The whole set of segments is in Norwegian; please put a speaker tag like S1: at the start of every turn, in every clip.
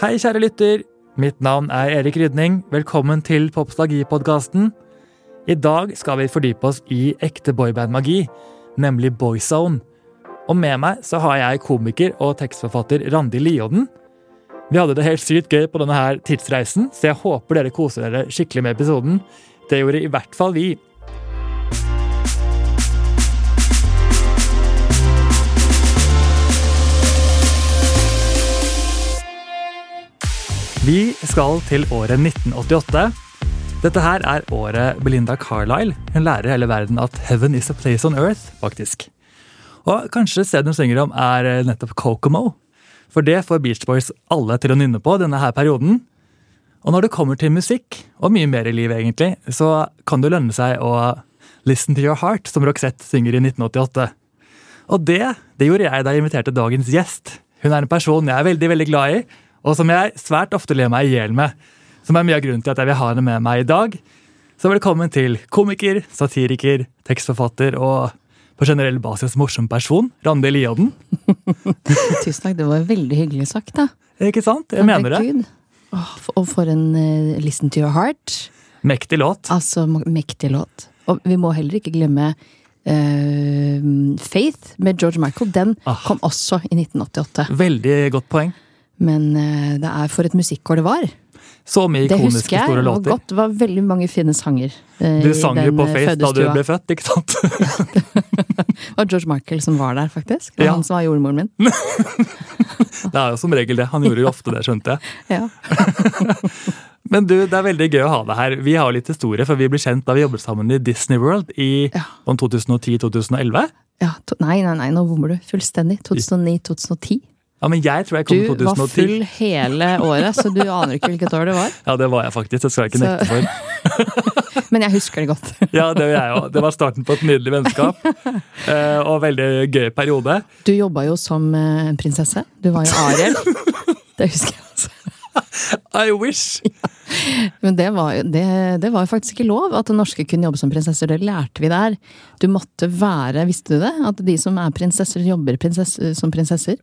S1: Hei, kjære lytter. Mitt navn er Erik Rydning. Velkommen til Popstagi-podkasten. I dag skal vi fordype oss i ekte boyband-magi, nemlig Boyzone. Og med meg så har jeg komiker og tekstforfatter Randi Lioden. Vi hadde det helt sykt gøy på denne her tidsreisen, så jeg håper dere koser dere skikkelig med episoden. Det gjorde i hvert fall vi. Vi skal til året 1988. Dette her er året Belinda Carlisle. Hun lærer hele verden at heaven is a place on earth, faktisk. Og kanskje stedet hun synger om, er eh, nettopp Kokomo. For det får Beach Boys alle til å nynne på denne her perioden. Og når det kommer til musikk, og mye mer i livet egentlig, så kan det lønne seg å listen to your heart, som Roxette synger i 1988. Og det, det gjorde jeg da jeg inviterte dagens gjest. Hun er en person jeg er veldig veldig glad i, og som jeg svært ofte ler meg i hjel med. Som er mye av grunnen til at jeg vil ha henne med meg i dag. Så velkommen til komiker, satiriker, tekstforfatter og på generell basis morsom person, Randi Lioden.
S2: Tusen takk, det var veldig hyggelig sagt, da.
S1: Ikke sant? Jeg mener det.
S2: Herregud. Åh, f- Og for en eh, Listen to your heart.
S1: Mektig låt.
S2: Altså, ma- mektig låt. Og vi må heller ikke glemme eh, Faith med George Michael. Den
S1: Ah.
S2: kom også i 1988.
S1: Veldig godt poeng.
S2: Men eh, det er for et musikkår det var.
S1: Så mye
S2: Det
S1: ikoniske
S2: husker jeg.
S1: store
S2: Det var
S1: låter.
S2: godt. Det var veldig mange fine sanger. eh,
S1: Du
S2: i
S1: sang
S2: den,
S1: jo på
S2: eh,
S1: Face da du
S2: fødestua.
S1: ble født, ikke sant?
S2: Det var George Michael som var der, faktisk. Det var
S1: Ja. Mm.
S2: han som var jordmoren min.
S1: Det er jo som regel det. Han gjorde jo ofte det, skjønte jeg.
S2: Ja.
S1: Men du, det er veldig gøy å ha deg her. Vi har jo litt historie, for vi ble kjent da vi jobbet sammen i Disney World i
S2: Ja.
S1: om 2010-2011.
S2: Ja, to, nei, nei, nei, nå bommer du fullstendig. 2009-2010.
S1: Ja, men jeg tror jeg kom
S2: Du var
S1: 2010.
S2: full hele året, så du aner ikke hvilket år det var.
S1: Ja, det var jeg faktisk. Det skal jeg ikke
S2: Så-
S1: nekte for.
S2: Men jeg husker det godt.
S1: Ja, Det var jeg også. Det var starten på et nydelig vennskap eh, og veldig gøy periode.
S2: Du jobba jo som eh, en prinsesse. Du var jo Ariel. Det husker jeg. altså.
S1: I wish!
S2: Men det var, jo, det, det var jo faktisk ikke lov at norske kunne jobbe som prinsesser. Det lærte vi der. Du måtte være Visste du det? At de som er prinsesser, jobber prinsess, som prinsesser.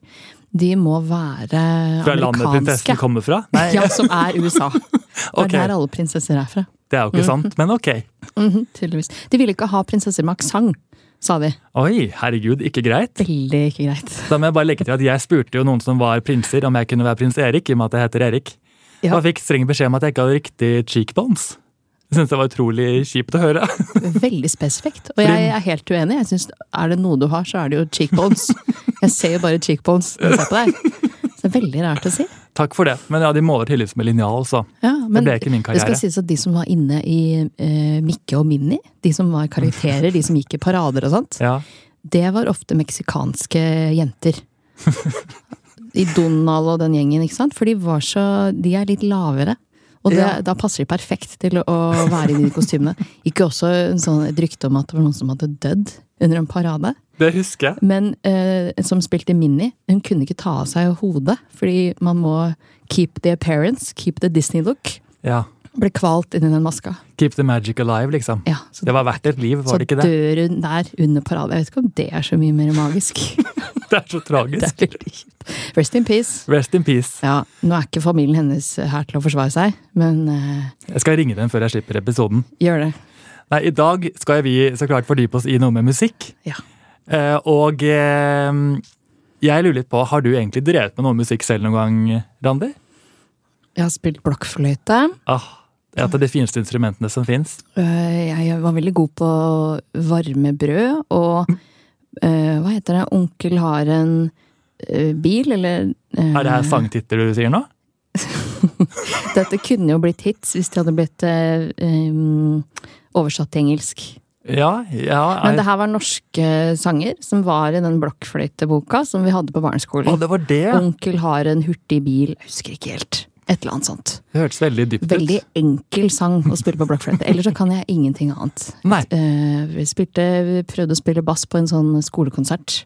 S2: De må være
S1: Fra landet prinsessen
S2: amerikanske.
S1: kommer fra. Nei,
S2: Ja, som er USA. Det er
S1: Ok.
S2: der alle prinsesser er fra.
S1: det er jo
S2: Mm.
S1: ikke sant, men ok.
S2: Mhm, tydeligvis. De ville ikke ha prinsesser med aksent, sa de.
S1: Oi, herregud, ikke greit.
S2: Veldig ikke greit.
S1: Da må jeg bare legge til at jeg spurte jo noen som var prinser, om jeg kunne være prins Erik, i og med at jeg heter Erik. Og
S2: Ja.
S1: jeg fikk streng beskjed om at jeg ikke hadde riktig cheekbones. Jeg synes det var utrolig kjipt å høre.
S2: Veldig spesifikt. Og jeg er helt uenig. Jeg synes, Er det noe du har, så er det jo cheekbones. Jeg ser jo bare cheekbones når jeg ser på deg. Så det er veldig rart å si.
S1: Takk for det. Men ja, de måler tydeligvis med linjal, så.
S2: Ja, men
S1: ble ikke min karriere.
S2: skal sies at de som var inne i eh, Mikke og Minni, de som var karakterer, de som gikk i parader og sånt,
S1: Ja.
S2: det var ofte meksikanske jenter. I Donald og den gjengen, ikke sant? For de var så De er litt lavere. Og det,
S1: Ja.
S2: da passer de perfekt til å å være i de kostymene. Gikk jo også en sånn, et rykte om at det var noen som hadde dødd under en parade.
S1: Det husker jeg.
S2: Men eh, som spilte Minnie, hun kunne ikke ta av seg hodet. Fordi man må keep the appearance, keep the Disney look.
S1: Ja.
S2: Ble kvalt inni den maska.
S1: Keep the magic alive, liksom.
S2: Ja, så
S1: Det var verdt et liv, var det ikke
S2: så
S1: det?
S2: dør hun der under parade. Jeg vet ikke om det er så mye mer magisk.
S1: Det er så
S2: det
S1: tragisk.
S2: er veldig kjipt. Rest in peace.
S1: Rest in peace.
S2: Ja, Nå er ikke familien hennes eh, her til å forsvare seg, men eh,
S1: Jeg skal ringe dem før jeg slipper episoden.
S2: gjør det.
S1: Nei, I dag skal vi så klart fordype oss i noe med musikk.
S2: Ja.
S1: Eh, og eh, jeg lurer litt på, har du egentlig drevet med noe musikk selv noen gang, Randi?
S2: Jeg har spilt blokkfløyte.
S1: Ah, det er et av de fineste instrumentene som fins.
S2: Eh, Jeg var veldig god på varme brød, og eh, hva heter det, onkel har en eh, bil, eller eh,
S1: Er det her sangtitler du sier nå?
S2: Dette kunne jo blitt hits hvis de hadde blitt eh, em, oversatt til engelsk.
S1: Ja, ja.
S2: Men
S1: Er,
S2: det her var norske sanger som var i den blokkfløyteboka som vi hadde på barneskolen.
S1: å, det var det! ja.
S2: Onkel har en hurtig bil, jeg husker ikke helt. Et eller annet sånt.
S1: Det hørtes veldig dypt
S2: Veldig
S1: ut.
S2: enkel sang å spille på blokkfløyte. Ellers så kan jeg ingenting annet.
S1: Nei,
S2: Eh, vi spilte, vi prøvde å spille bass på en sånn skolekonsert.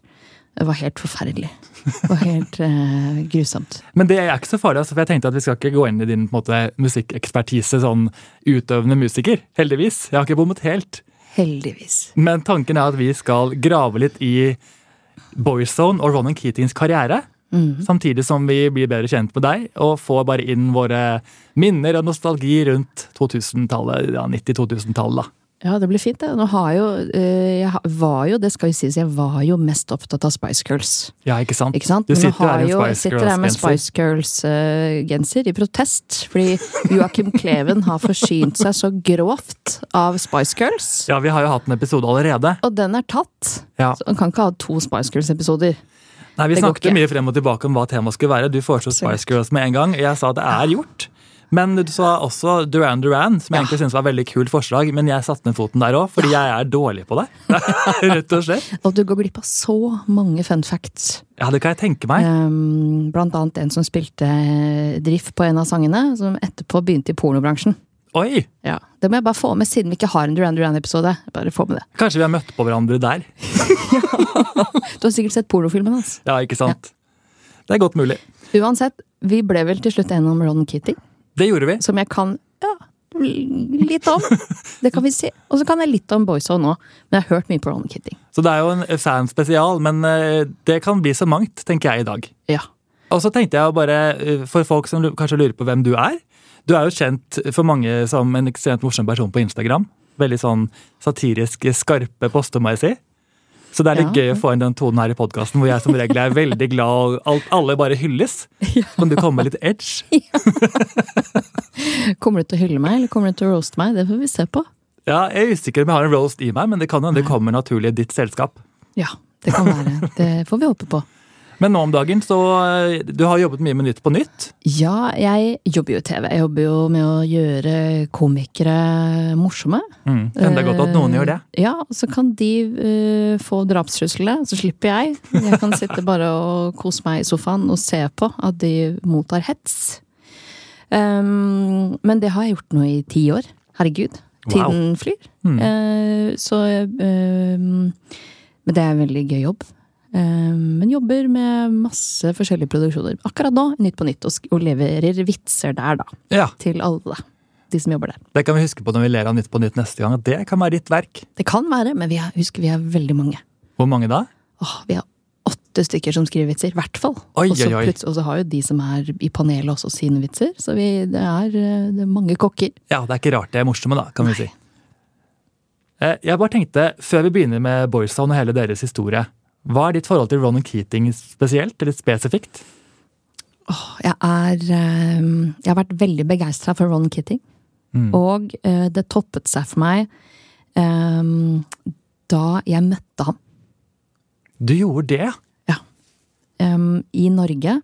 S2: Det var helt forferdelig. Det var helt eh, grusomt.
S1: Men det er ikke så farlig, altså, for jeg tenkte at vi skal ikke gå inn i din på en måte, musikkekspertise sånn utøvende musiker. Heldigvis. Jeg har ikke bommet helt.
S2: Heldigvis.
S1: Men tanken er at vi skal grave litt i Boyzone og Ronan Keatings karriere.
S2: Mhm. Mm.
S1: Samtidig som vi blir bedre kjent med deg og får bare inn våre minner og nostalgi rundt 2000-tallet, ja, 90-2000-tallet. da.
S2: Ja, det blir fint, det. Nå har jeg jo, eh, jeg ha- var jo, det skal jo sies, jeg var jo mest opptatt av Spice Girls.
S1: Ja, ikke sant?
S2: Ikke sant?
S1: Du
S2: Men nå
S1: sitter
S2: har
S1: her i en
S2: jo- jeg
S1: Spice
S2: sitter her med
S1: Girls-genser.
S2: Spice Girls-genser i protest, fordi Joakim Kleven har forsynt seg så grovt av Spice Girls.
S1: Ja, vi har jo hatt en episode allerede.
S2: Og den er tatt.
S1: Ja.
S2: Så man kan ikke ha to Spice Girls-episoder.
S1: Nei, Vi
S2: Det går
S1: snakket
S2: ikke.
S1: mye frem og tilbake om hva temaet skulle være. Du foreslo Spice Girls med en gang. Jeg sa det er gjort. Men du sa også Duran Duran, som jeg egentlig synes var et veldig kult forslag. Men jeg satte ned foten der òg, fordi jeg er dårlig på det. Rett og slett.
S2: Og du går glipp av så mange fun facts.
S1: Ja, det kan jeg tenke meg.
S2: Um, blant annet en som spilte eh, drift på en av sangene, som etterpå begynte i pornobransjen.
S1: Oi!
S2: Ja, Det må jeg bare få med, siden vi ikke har en Duran Duran-episode. Bare få med det.
S1: Kanskje vi har møtt på hverandre der.
S2: Du har sikkert sett pornofilmen hans.
S1: Ja, ikke sant? Det er godt mulig.
S2: Uansett, vi ble vel til slutt enige om Ron Kitty,
S1: Det gjorde vi.
S2: som jeg kan ja, l- litt om. Det kan vi si. Og så kan jeg litt om Boyzone nå, men jeg har hørt mye på Ron Kitty.
S1: Så det er jo en fanspesial, men eh, det kan bli så mangt, tenker jeg i dag.
S2: Ja.
S1: Og så tenkte jeg bare, eh, for folk som lu- kanskje lurer på hvem du er Du er jo kjent for mange som en ekstremt morsom person på Instagram. Veldig sånn satirisk skarpe poster, må jeg si. Så det er litt
S2: Ja.
S1: gøy å få inn den tonen her i podkasten, hvor jeg som regel er veldig glad, og alt, alle bare hylles. Kan du komme med litt edge?
S2: Kommer du til å hylle meg, eller kommer du til å roaste meg? Det får vi se på.
S1: Ja, Jeg er usikker om jeg har en roast i meg, men det kan hende det kommer naturlig i ditt selskap.
S2: Ja, det kan være. Det får vi håpe på.
S1: Men nå om dagen, så eh, Du har jobbet mye med Nytt på nytt.
S2: Ja, jeg jobber jo i TV. Jeg jobber jo med å gjøre komikere morsomme.
S1: Mm. Enda godt at noen gjør det.
S2: Eh, Ja, og så kan de eh, få drapstruslene, så slipper jeg. Jeg kan sitte bare og kose meg i sofaen og se på at de mottar hets. Ehm, men det har jeg gjort nå i ti år. Herregud.
S1: Wow. Hmm.
S2: Tiden flyr. Eh, så ehm, Men det er en veldig gøy jobb. Ehm, men jobber med masse forskjellige produksjoner. Akkurat nå, Nytt på Nytt, og, sk- og leverer vitser der, da.
S1: Ja,
S2: Til alle de som jobber der.
S1: Det kan vi huske på når vi ler av Nytt på nytt neste gang. at Det kan være ditt verk.
S2: Det kan være, men vi er, husk, vi er veldig mange.
S1: Hvor mange da?
S2: Åh, vi er åtte stykker som skriver vitser, i hvert fall.
S1: Oi,
S2: og, så
S1: oi, oi.
S2: plutselig- og så har jo de som er i panelet også sine vitser, så vi, det, er, eh, det er mange kokker.
S1: Ja, Det er ikke rart det er morsomme, da, kan vi si. Eh, Jeg bare tenkte, Før vi begynner med Boyzone og hele deres historie, hva er ditt forhold til Ronan Keating spesielt? eller spesifikt?
S2: Åh, Jeg, er, eh, jeg har vært veldig begeistra for Ron Kitting,
S1: Mm.
S2: og eh, det toppet seg for meg eh, da jeg møtte ham.
S1: Du gjorde det?
S2: Ja. Eh, I Norge.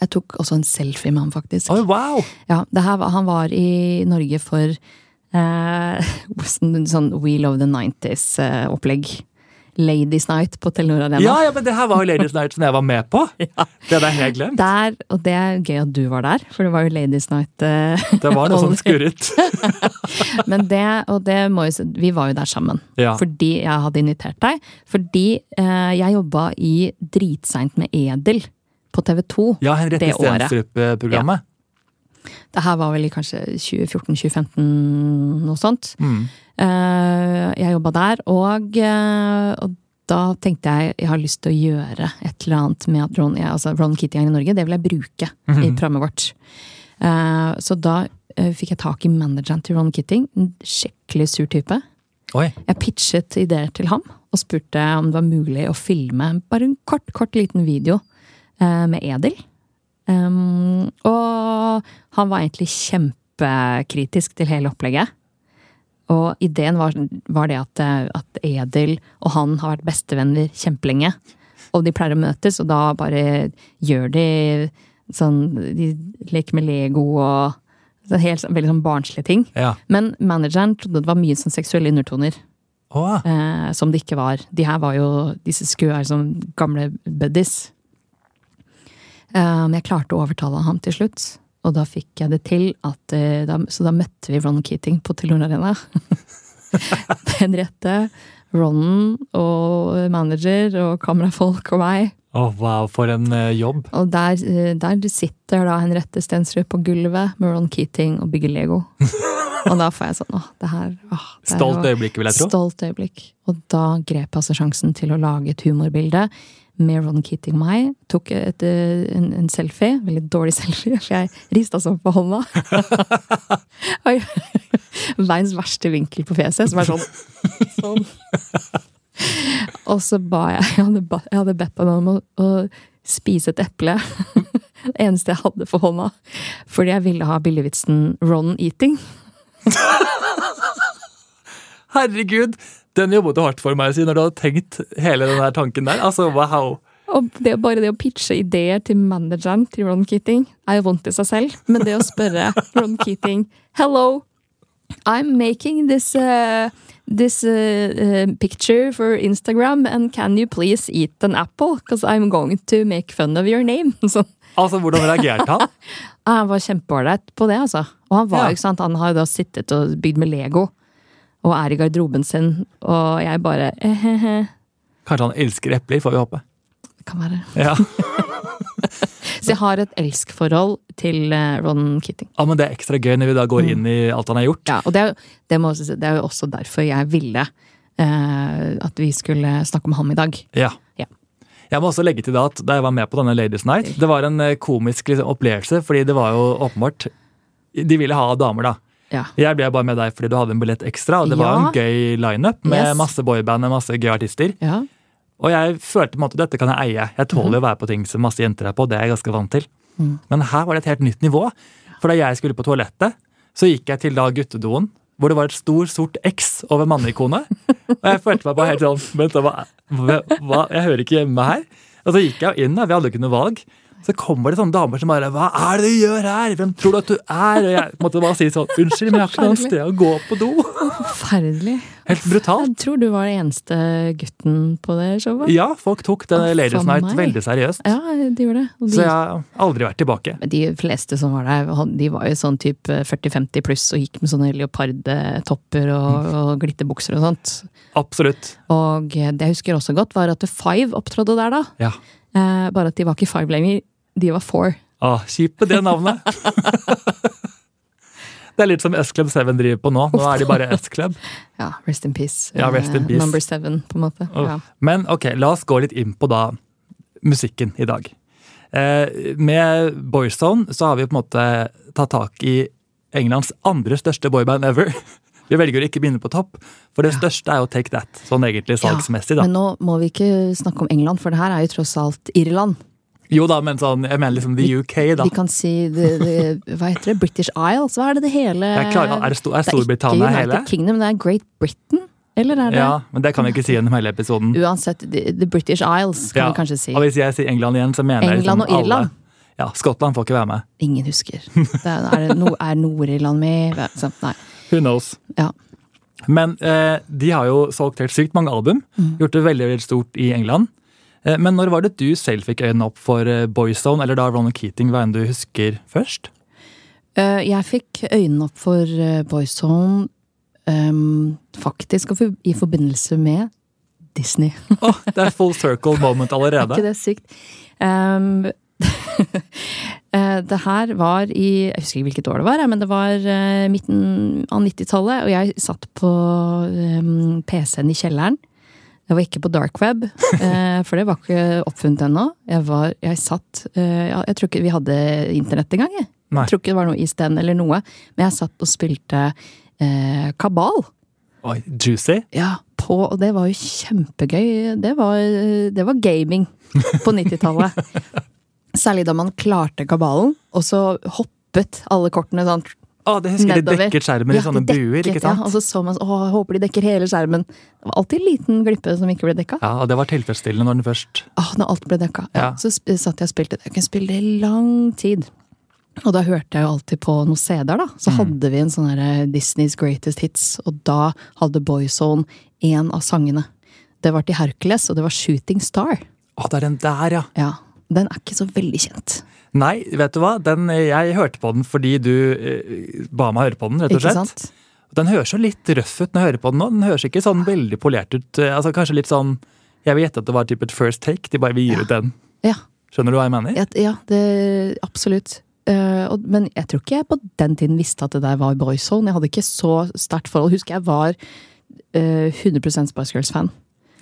S2: Jeg tok også en selfie med ham, faktisk.
S1: Oi, wow!
S2: Ja, det her, var- han var i Norge for eh, sånn, sånn Wheel of the 90s-opplegg. Ladies Night på Telenor Arena.
S1: Ja, ja, men Det her var jo Ladies Night som jeg var med på! Det hadde jeg helt glemt.
S2: Der, og det er gøy at du var der, for det var jo Ladies Night. eh,
S1: Det var noe sånn skurret.
S2: Men det, og det må jo si, vi var jo der sammen.
S1: Ja.
S2: Fordi jeg hadde invitert deg. Fordi eh, jeg jobba i Dritseint med Edel på TV 2.
S1: Ja, Henriette
S2: Det året.
S1: Stenstrup-programmet.
S2: Det her var vel i kanskje 2014-2015, noe sånt.
S1: Mm.
S2: Eh, jeg jobba der, og, eh, og da tenkte jeg jeg har lyst til å gjøre et eller annet med at Ron, ja, altså Ron Kitty er i Norge. Det vil jeg bruke i programmet vårt. Eh, så da eh, fikk jeg tak i manageren til Ron Kitting. En skikkelig sur type.
S1: Oi,
S2: Jeg pitchet ideer til ham og spurte om det var mulig å filme bare en kort, kort liten video eh, med Edil. Um, og han var egentlig kjempekritisk til hele opplegget. Og ideen var, var det at, eh, at Edil og han har vært bestevenner kjempelenge. Og de pleier å møtes, og da bare gjør de sånn De leker med Lego og så helt, sånn- Veldig sånn barnslige ting.
S1: ja.
S2: Men manageren trodde det var mye sånn seksuelle undertoner,
S1: Å,
S2: eh, som det ikke var. De her var jo, disse skulle være som gamle buddies. Eh, men jeg klarte å overtale ham til slutt, og da fikk jeg det til. At, eh, da, så da møtte vi Ron Keating på Telenor Arena. Henriette, Ronan og manager og kamerafolk og meg.
S1: Å, wow, for en eh, jobb.
S2: Og der, eh, der sitter da Henriette Stensrud på gulvet med Ron Keating og bygger Lego. og da får jeg sånn åh, det her åh, det her
S1: Stolt
S2: var-
S1: øyeblikk, vil jeg tro.
S2: Stolt øyeblikk. Og da grep jeg altså sjansen til å lage et humorbilde med Ron Keating og meg. Tok et, eh, en, en selfie. Veldig dårlig selfie, for jeg rista sånn på hånda. Oi. Verdens verste vinkel på fjeset, som er sånn. sånn. Og så ba jeg Jeg hadde, ba, jeg hadde bedt henne om å, å spise et eple. Det eneste jeg hadde for hånda. Fordi jeg ville ha billigvitsen Ron eating.
S1: Herregud! Den jobbet du hardt for meg, si, når du hadde tenkt hele den der tanken der. Altså, wow.
S2: Og det, bare det å pitche ideer til manageren til Ron Keating er jo vondt i seg selv, men det å spørre Ron Keating Hello, I'm making this, uh, this uh, uh, picture for Instagram, and can you please eat an apple? Because I'm going to make fun of your name. Sånn.
S1: Altså, hvordan reagerte han?
S2: Ja, Han var kjempeålreit på det, altså. Og han var
S1: Ja.
S2: jo ikke sant, han har jo da sittet og bygd med Lego. Og er i garderoben sin, og jeg bare "Eh, eh-he-he.
S1: Kanskje han elsker epler, får vi håpe.
S2: Det kan være.
S1: Ja,
S2: Så jeg har et elskforhold til eh, Ron Keating.
S1: ja men Det er ekstra gøy når vi da går inn i
S2: Mm.
S1: alt han har gjort.
S2: Ja, og det er, jo- det, må jeg også si, det er jo også derfor jeg ville eh, at vi skulle snakke om ham i dag.
S1: Ja.
S2: Ja.
S1: Jeg må også legge til da at da jeg var med på denne Ladies Night, det var en eh, komisk liksom, opplevelse, fordi det var jo åpenbart De ville ha damer, da.
S2: Ja.
S1: Jeg ble bare med deg fordi du hadde en billett ekstra, og det var
S2: Ja.
S1: en gøy lineup med
S2: Yes.
S1: masse boyband og masse gøye artister.
S2: ja.
S1: Og jeg følte på en måte dette kan jeg eie. Jeg
S2: Mhm.
S1: tåler å være på ting som masse jenter er på, det er jeg ganske vant til.
S2: Mm.
S1: Men her var det et helt nytt nivå. For da jeg skulle på toalettet, så gikk jeg til da guttedoen, hvor det var et stor, sort X over manneikonet. Og jeg følte meg bare helt sånn Vent, da, hva, hva, hva? Jeg hører ikke hjemme her. Og så gikk jeg jo inn, da, vi hadde jo ikke noe valg. Så kommer det sånne damer som bare Hva er det du gjør her? Hvem tror du at du er? Og jeg måtte bare si sånn Unnskyld, men jeg har ikke noe sted å gå på do.
S2: Forferdelig.
S1: Helt brutalt.
S2: Jeg tror du var den eneste gutten på det showet.
S1: Ja, folk tok den
S2: Å,
S1: Ladies
S2: faen
S1: Night
S2: meg.
S1: veldig seriøst.
S2: Ja, de gjorde det. Og
S1: Så
S2: de,
S1: jeg har aldri vært tilbake.
S2: men de fleste som var der, han- de var jo sånn type 40-50 pluss og gikk med sånne leopardtopper og, og glitterbukser og sånt.
S1: Absolutt.
S2: Og det jeg husker også godt, var at The Five opptrådde der da.
S1: Ja.
S2: Eh, bare at de var ikke Five lenger, de var Four.
S1: Å, kjipe Ah, det navnet. det er litt som S-Club 7 driver på nå. Nå er de bare S-Club.
S2: Ja, rest in peace.
S1: Ja, rest in
S2: Eh,
S1: peace.
S2: Number seven, på en måte. Ja.
S1: Men ok, la oss gå litt inn på da musikken i dag. Eh, med Boyzone så har vi på en måte tatt tak i Englands andre største boyband ever. Vi velger å ikke begynne på topp, for det største er jo Take That, sånn egentlig salgsmessig, da.
S2: Men nå må vi ikke snakke om England, for det her er jo tross alt Irland.
S1: Jo da, men sånn, jeg mener liksom the UK, da.
S2: Vi kan si det, det, Hva heter det? British Isles? Hva er det det hele
S1: Jeg klarer, er det, sto- er
S2: Det er ikke
S1: Storbritannia hele?
S2: United Kingdom, det er Great Britain? Eller er det
S1: Ja, men det kan vi ikke si gjennom hele episoden.
S2: Uansett, the, the British Isles, kan
S1: Ja,
S2: vi kanskje si.
S1: Og hvis jeg sier England igjen, så mener jeg
S2: England og
S1: liksom alle.
S2: Irland.
S1: Ja, Skottland får ikke være med.
S2: Ingen husker. Det er, er, det no, er Nord-Irland med? Hva- sant, Nei.
S1: Who knows?
S2: Ja.
S1: Men eh, de har jo solgt helt sykt mange album.
S2: Mm.
S1: Gjort det veldig veldig stort i England. Eh, men når var det du selv fikk øynene opp for eh, Boyzone, eller da Ronald Keating, hva enn du husker først?
S2: Eh, Jeg fikk øynene opp for eh, Boyzone ehm, faktisk og for- i forbindelse med Disney.
S1: Åh, det er full circle moment
S2: Er ikke
S1: allerede.
S2: det sykt? Ehm, eh, det her var i Jeg husker ikke hvilket år det var, jeg, men det var eh, midten av 90-tallet. Og jeg satt på ehm, PC-en i kjelleren. Jeg var ikke på dark web, eh, for det var ikke oppfunnet ennå. Jeg, var, jeg satt eh, ja, Jeg tror ikke vi hadde internett engang. Jeg.
S1: Nei.
S2: jeg tror ikke det var noe ISDN eller noe. Men jeg satt og spilte eh, kabal.
S1: Oi, juicy.
S2: Ja, på, og det var jo kjempegøy. Det var, det var gaming på 90-tallet. Særlig da man klarte kabalen, og så hoppet alle kortene sånn
S1: Åh, det husker jeg, de
S2: nedover.
S1: dekket skjermen
S2: Ja,
S1: i sånne
S2: de
S1: buer,
S2: dekket,
S1: ikke sant?
S2: Ja, og så så man sånn, å, jeg håper de dekker hele skjermen. Det var alltid en liten glippe som ikke ble dekka.
S1: Ja, og det var tilfredsstillende når den først
S2: Ah, når alt ble dekka. Ja.
S1: Ja.
S2: Så sp- satt jeg og spilte det. Jeg kunne spille det i lang tid. Og da hørte jeg jo alltid på noen CD-er, da.
S1: Mm.
S2: Så hadde vi en sånn her Disneys Greatest Hits, og da hadde Boyzone én av sangene. Det var til Hercules, og det var Shooting Star.
S1: Åh, det er den der, ja!
S2: Ja. Den er ikke så veldig kjent.
S1: Nei, vet du hva? Den, eh, jeg hørte på den fordi du eh, ba meg høre på den, rett og
S2: Ikke
S1: slett.
S2: sant?
S1: Den høres jo litt røff ut når jeg hører på den nå. Den høres ikke sånn veldig polert ut. Eh, Altså Kanskje litt sånn Jeg vil gjette at det var typ et first take. De bare vi gir ut den.
S2: Ja.
S1: Skjønner du hva jeg mener?
S2: Ja, ja det, absolutt. Eh, og, men jeg tror ikke jeg på den tiden visste at det der var Boyzone. Jeg hadde ikke så sterkt forhold. Husker jeg var eh, 100 Spice Girls-fan.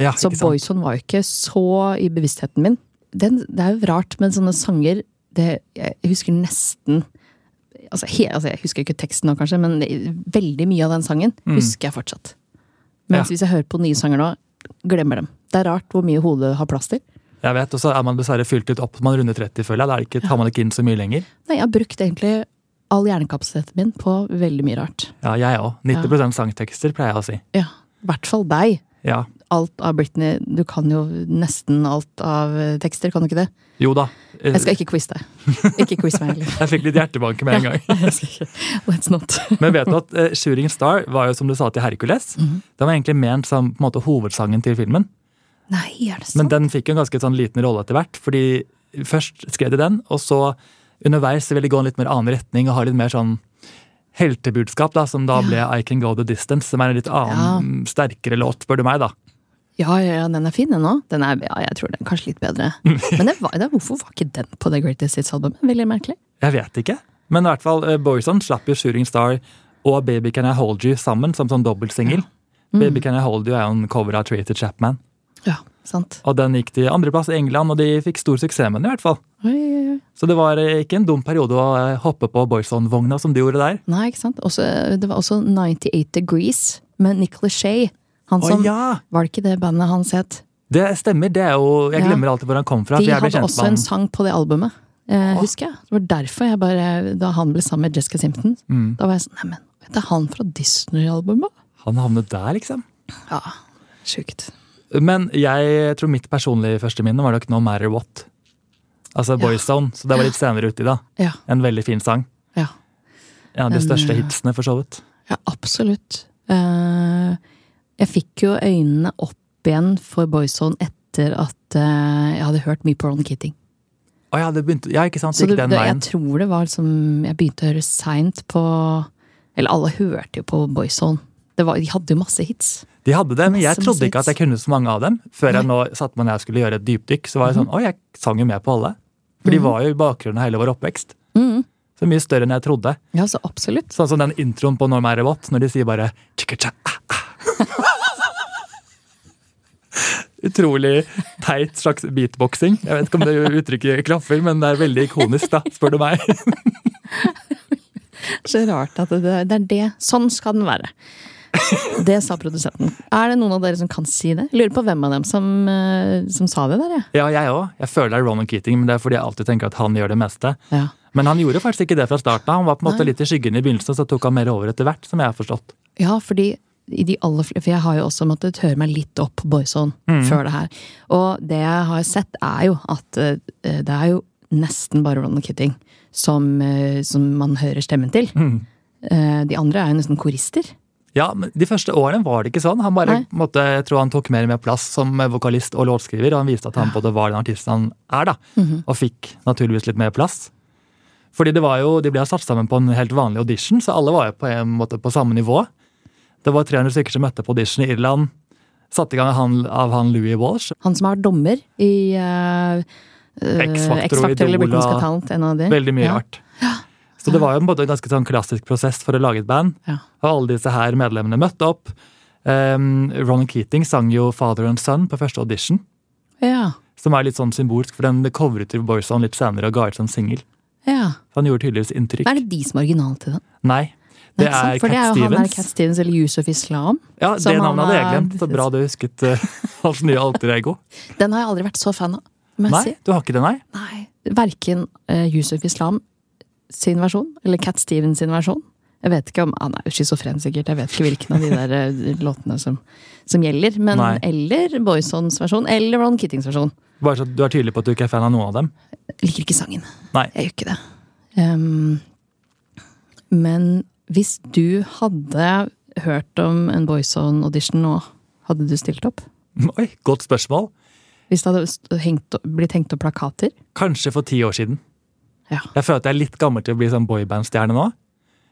S1: Ja,
S2: Så
S1: ikke sant?
S2: Boyzone var jo ikke så i bevisstheten min. Den, det er jo rart med sånne sanger det, Jeg husker nesten altså, he, altså Jeg husker ikke teksten nå, kanskje, men veldig mye av den sangen husker jeg fortsatt. Mens
S1: Mm. Ja.
S2: hvis jeg hører på nye sanger nå, glemmer dem. Det er rart hvor mye hodet har plass til.
S1: Jeg vet, og så er man dessverre fylt ut opp når man runder 30, føler jeg. Da er det ikke, tar man ikke inn så mye lenger.
S2: Nei, jeg har brukt egentlig all hjernekapasiteten min på veldig mye rart.
S1: Ja, jeg òg. 90 sangtekster, pleier jeg å si.
S2: Ja, i hvert fall deg.
S1: Ja.
S2: Alt av Britney Du kan jo nesten alt av eh, tekster, kan du ikke det?
S1: Jo da. eh,
S2: Jeg skal ikke quize deg. Ikke quiz meg heller.
S1: Jeg fikk litt hjertebanke med en gang.
S2: Nei, jeg skal ikke. Let's not.
S1: Men vet du at eh, Shooting Star var jo som du sa til Hercules.
S2: Mhm.
S1: Den var egentlig ment som på en måte, hovedsangen til filmen.
S2: Nei, er det
S1: Men
S2: sant?
S1: den fikk jo en ganske sånn liten rolle etter hvert. fordi først skrev de den, og så underveis så ville de gå en litt mer annen retning og ha litt mer sånn heltebudskap, da, som da ble I Can Go The Distance, som er en litt annen, sterkere låt, spør du meg, da.
S2: Ja, ja, ja, den er fin, den òg. Den er, ja, jeg tror den er kanskje litt bedre. Men det var, det, hvorfor var ikke den på The Greatest Hits-albumet? Veldig merkelig.
S1: Jeg vet ikke. Men i hvert fall, eh, Boyzone slapp jo Shooting Star og Baby Can I Hold You sammen som sånn dobbeltsingel. Baby Can I Hold You er jo en cover av Tracy Chapman.
S2: Ja, sant.
S1: Og den gikk til andreplass i England, og de fikk stor suksess med den. i hvert fall.
S2: Oi, oi, oi.
S1: Så det var eh, ikke en dum periode å eh, hoppe på Boyzone-vogna som du gjorde der.
S2: Nei, ikke sant. Også, det var også 98 Degrees med Nick Lachey. Han som,
S1: Å ja!
S2: Var det ikke det bandet hans het?
S1: Det stemmer. det er jo, Jeg
S2: Ja.
S1: glemmer alltid hvor han kom fra. for
S2: De
S1: jeg ble
S2: hadde
S1: kjent
S2: også en
S1: med han.
S2: sang på det albumet, eh,
S1: Åh.
S2: husker jeg. Det var derfor jeg bare, Da han ble sammen med Jessica Simpton,
S1: Mm.
S2: da var jeg sånn Neimen, det er han fra Disney-albumet?
S1: Han havnet der, liksom.
S2: Ja, sjukt.
S1: Men jeg tror mitt personlige første minne var nok No Matter What. Altså Boyzone. Så det var litt senere uti, da.
S2: Ja,
S1: En veldig fin sang.
S2: ja.
S1: En av de
S2: Den,
S1: største
S2: eh,
S1: hitsene, for så vidt.
S2: Ja, absolutt. Eh, jeg fikk jo øynene opp igjen for Boyzone etter at eh, jeg hadde hørt mye på Ron Keating.
S1: Å ja, det begynte, ja, ikke sant?
S2: Så
S1: Det
S2: det,
S1: gikk den
S2: det, jeg
S1: veien.
S2: tror det var liksom Jeg begynte å høre seint på Eller alle hørte jo på Boyzone. Det var, de hadde jo masse hits.
S1: De hadde det, men jeg
S2: Masse
S1: trodde ikke at jeg kunne så mange av dem. Før jeg
S2: Nei. Mhm.
S1: nå satte meg ned og skulle gjøre et dypdykk, så var jeg sånn Å, jeg sang jo med på alle. For de var jo i bakgrunnen av hele vår oppvekst.
S2: Mhm.
S1: Så mye større enn jeg trodde.
S2: Ja, så absolutt.
S1: Sånn som den introen på Norm Erevot, når de sier bare «Tjikkertja, ah, ah». Utrolig teit slags beatboxing. Jeg vet ikke om det uttrykket klaffer, men det er veldig ikonisk, da, spør du meg.
S2: Så rart at det, det er det. Sånn skal den være. Det sa produsenten. Er det noen av dere som kan si det? Jeg Lurer på hvem av dem som, eh, som sa det der, jeg.
S1: Ja, jeg òg. Jeg føler det er Ronan Keating, men det er fordi jeg alltid tenker at han gjør det meste.
S2: Ja.
S1: Men han gjorde faktisk ikke det fra starten av. Han var på en måte
S2: Nei.
S1: litt i skyggen i begynnelsen, så tok han mer over etter hvert, som jeg har forstått.
S2: Ja, fordi i de aller fl- For jeg har jo også måttet høre meg litt opp på Boyzone
S1: Mm.
S2: før det her. Og det jeg har sett, er jo at eh, det er jo nesten bare Ronald Kitting som, eh, som man hører stemmen til.
S1: Mm.
S2: Eh, De andre er jo nesten korister.
S1: Ja, men De første årene var det ikke sånn. Han bare,
S2: Nei.
S1: på en måte, jeg tror han tok mer og mer plass som vokalist og låtskriver. og Han viste at han både var den artisten han er, da,
S2: Mhm.
S1: og fikk naturligvis litt mer plass. Fordi det var jo, De ble satt sammen på en helt vanlig audition, så alle var jo på en måte på samme nivå. Det var 300 stykker som møtte på audition i Irland. Satte i gang av han, av han Louis Walsh.
S2: Han som er dommer i eh, eh,
S1: X-Factor og
S2: X-Factor eller
S1: Idol
S2: Britain's
S1: og-
S2: Got Talent. En av de.
S1: Veldig mye
S2: ja.
S1: rart. Så det var jo på en måte en ganske sånn klassisk prosess for å lage et band.
S2: Ja.
S1: Og alle disse her medlemmene møtte opp. Um, Ronald Keating sang jo 'Father and Son' på første audition.
S2: Ja.
S1: Som er litt sånn symbolsk, for den covret jo Boyzone litt senere og ga ut som singel.
S2: ja.
S1: Så Han gjorde tydeligvis inntrykk.
S2: Er det de som er originalen til den?
S1: Nei. Det
S2: Ikke sant?
S1: er
S2: For det
S1: Cat
S2: er jo han der
S1: Stevens.
S2: Cat Stevens eller Yusuf Islam.
S1: ja,
S2: som
S1: Det
S2: han
S1: navnet hadde jeg
S2: har-
S1: glemt. Så bra du husket eh, hans nye alter ego.
S2: Den har jeg aldri vært så fan av. må jeg
S1: Nei,
S2: si.
S1: du har ikke det, nei?
S2: Nei, verken eh, Yusuf Islam sin versjon, eller Cat Stevens sin versjon. Jeg vet ikke om, Han er jo schizofren, sikkert. Jeg vet ikke hvilken av de der eh, låtene som, som gjelder. Men,
S1: Nei.
S2: eller Boysons versjon, eller Ron Kittings versjon.
S1: Bare så at Du er tydelig på at du ikke er fan av noen av dem.
S2: Jeg liker ikke sangen.
S1: Nei.
S2: Jeg gjør ikke det. Ehm, men hvis du hadde hørt om en Boyson-audition nå, hadde du stilt opp?
S1: Oi, Godt spørsmål.
S2: Hvis det hadde st- hengt, opp- blitt hengt opp plakater?
S1: Kanskje for ti år siden.
S2: Ja.
S1: Jeg føler at jeg er litt gammel til å bli sånn boybandstjerne nå.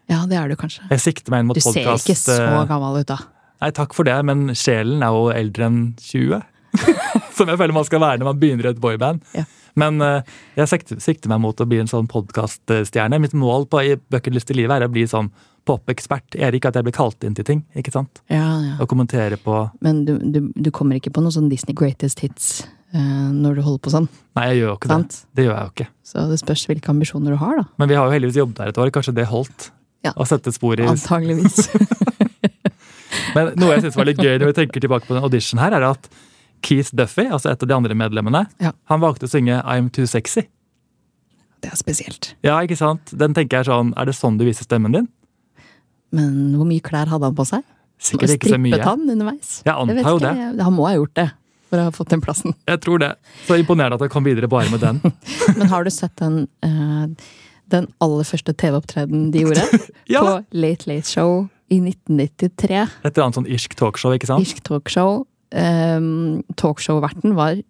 S2: ja, det er du kanskje.
S1: Jeg sikter meg inn mot
S2: Du ser
S1: podcast,
S2: ikke så
S1: eh,
S2: gammel ut, da.
S1: Nei, takk for det, men sjelen er jo eldre enn 20. Som jeg føler man skal være når man begynner i et boyband.
S2: Ja.
S1: Men eh, jeg sikter, sikter meg mot å bli en sånn podkaststjerne. Mitt mål på i bucketlist i livet er å bli sånn popekspert Erik at jeg blir kalt inn til ting. ikke sant?
S2: Ja, ja.
S1: Og kommentere på
S2: Men du, du, du kommer ikke på noe sånn Disney Greatest Hits eh, når du holder på sånn.
S1: Nei, jeg gjør jo ikke det.
S2: sant?
S1: Det gjør jeg jo ikke.
S2: Så det spørs hvilke ambisjoner du har, da.
S1: Men vi har jo heldigvis jobbet der et år. Kanskje det holdt?
S2: Ja.
S1: Å sette spor i
S2: Antageligvis.
S1: Men noe jeg synes var litt gøy når vi tenker tilbake på den audition her, er at Keith Duffy, altså et av de andre medlemmene,
S2: Ja.
S1: han valgte å synge I'm Too Sexy.
S2: Det er spesielt.
S1: Ja, ikke sant? Den tenker jeg sånn, Er det sånn du viser stemmen din?
S2: Men hvor mye klær hadde han på seg? Og
S1: Sikkert ikke så
S2: Strippet
S1: mye.
S2: han underveis?
S1: Jeg antar
S2: vet
S1: jo
S2: ikke, jeg- Han må ha gjort det for å ha fått den plassen.
S1: Jeg tror det. Så imponerende at han kom videre bare med den.
S2: Men har du sett den, eh, den aller første TV-opptredenen de gjorde?
S1: Ja,
S2: På Late Late Show i 1993.
S1: Et eller annet sånn irsk talkshow, ikke sant?
S2: Irsk talkshow. Um, Talkshow-verten var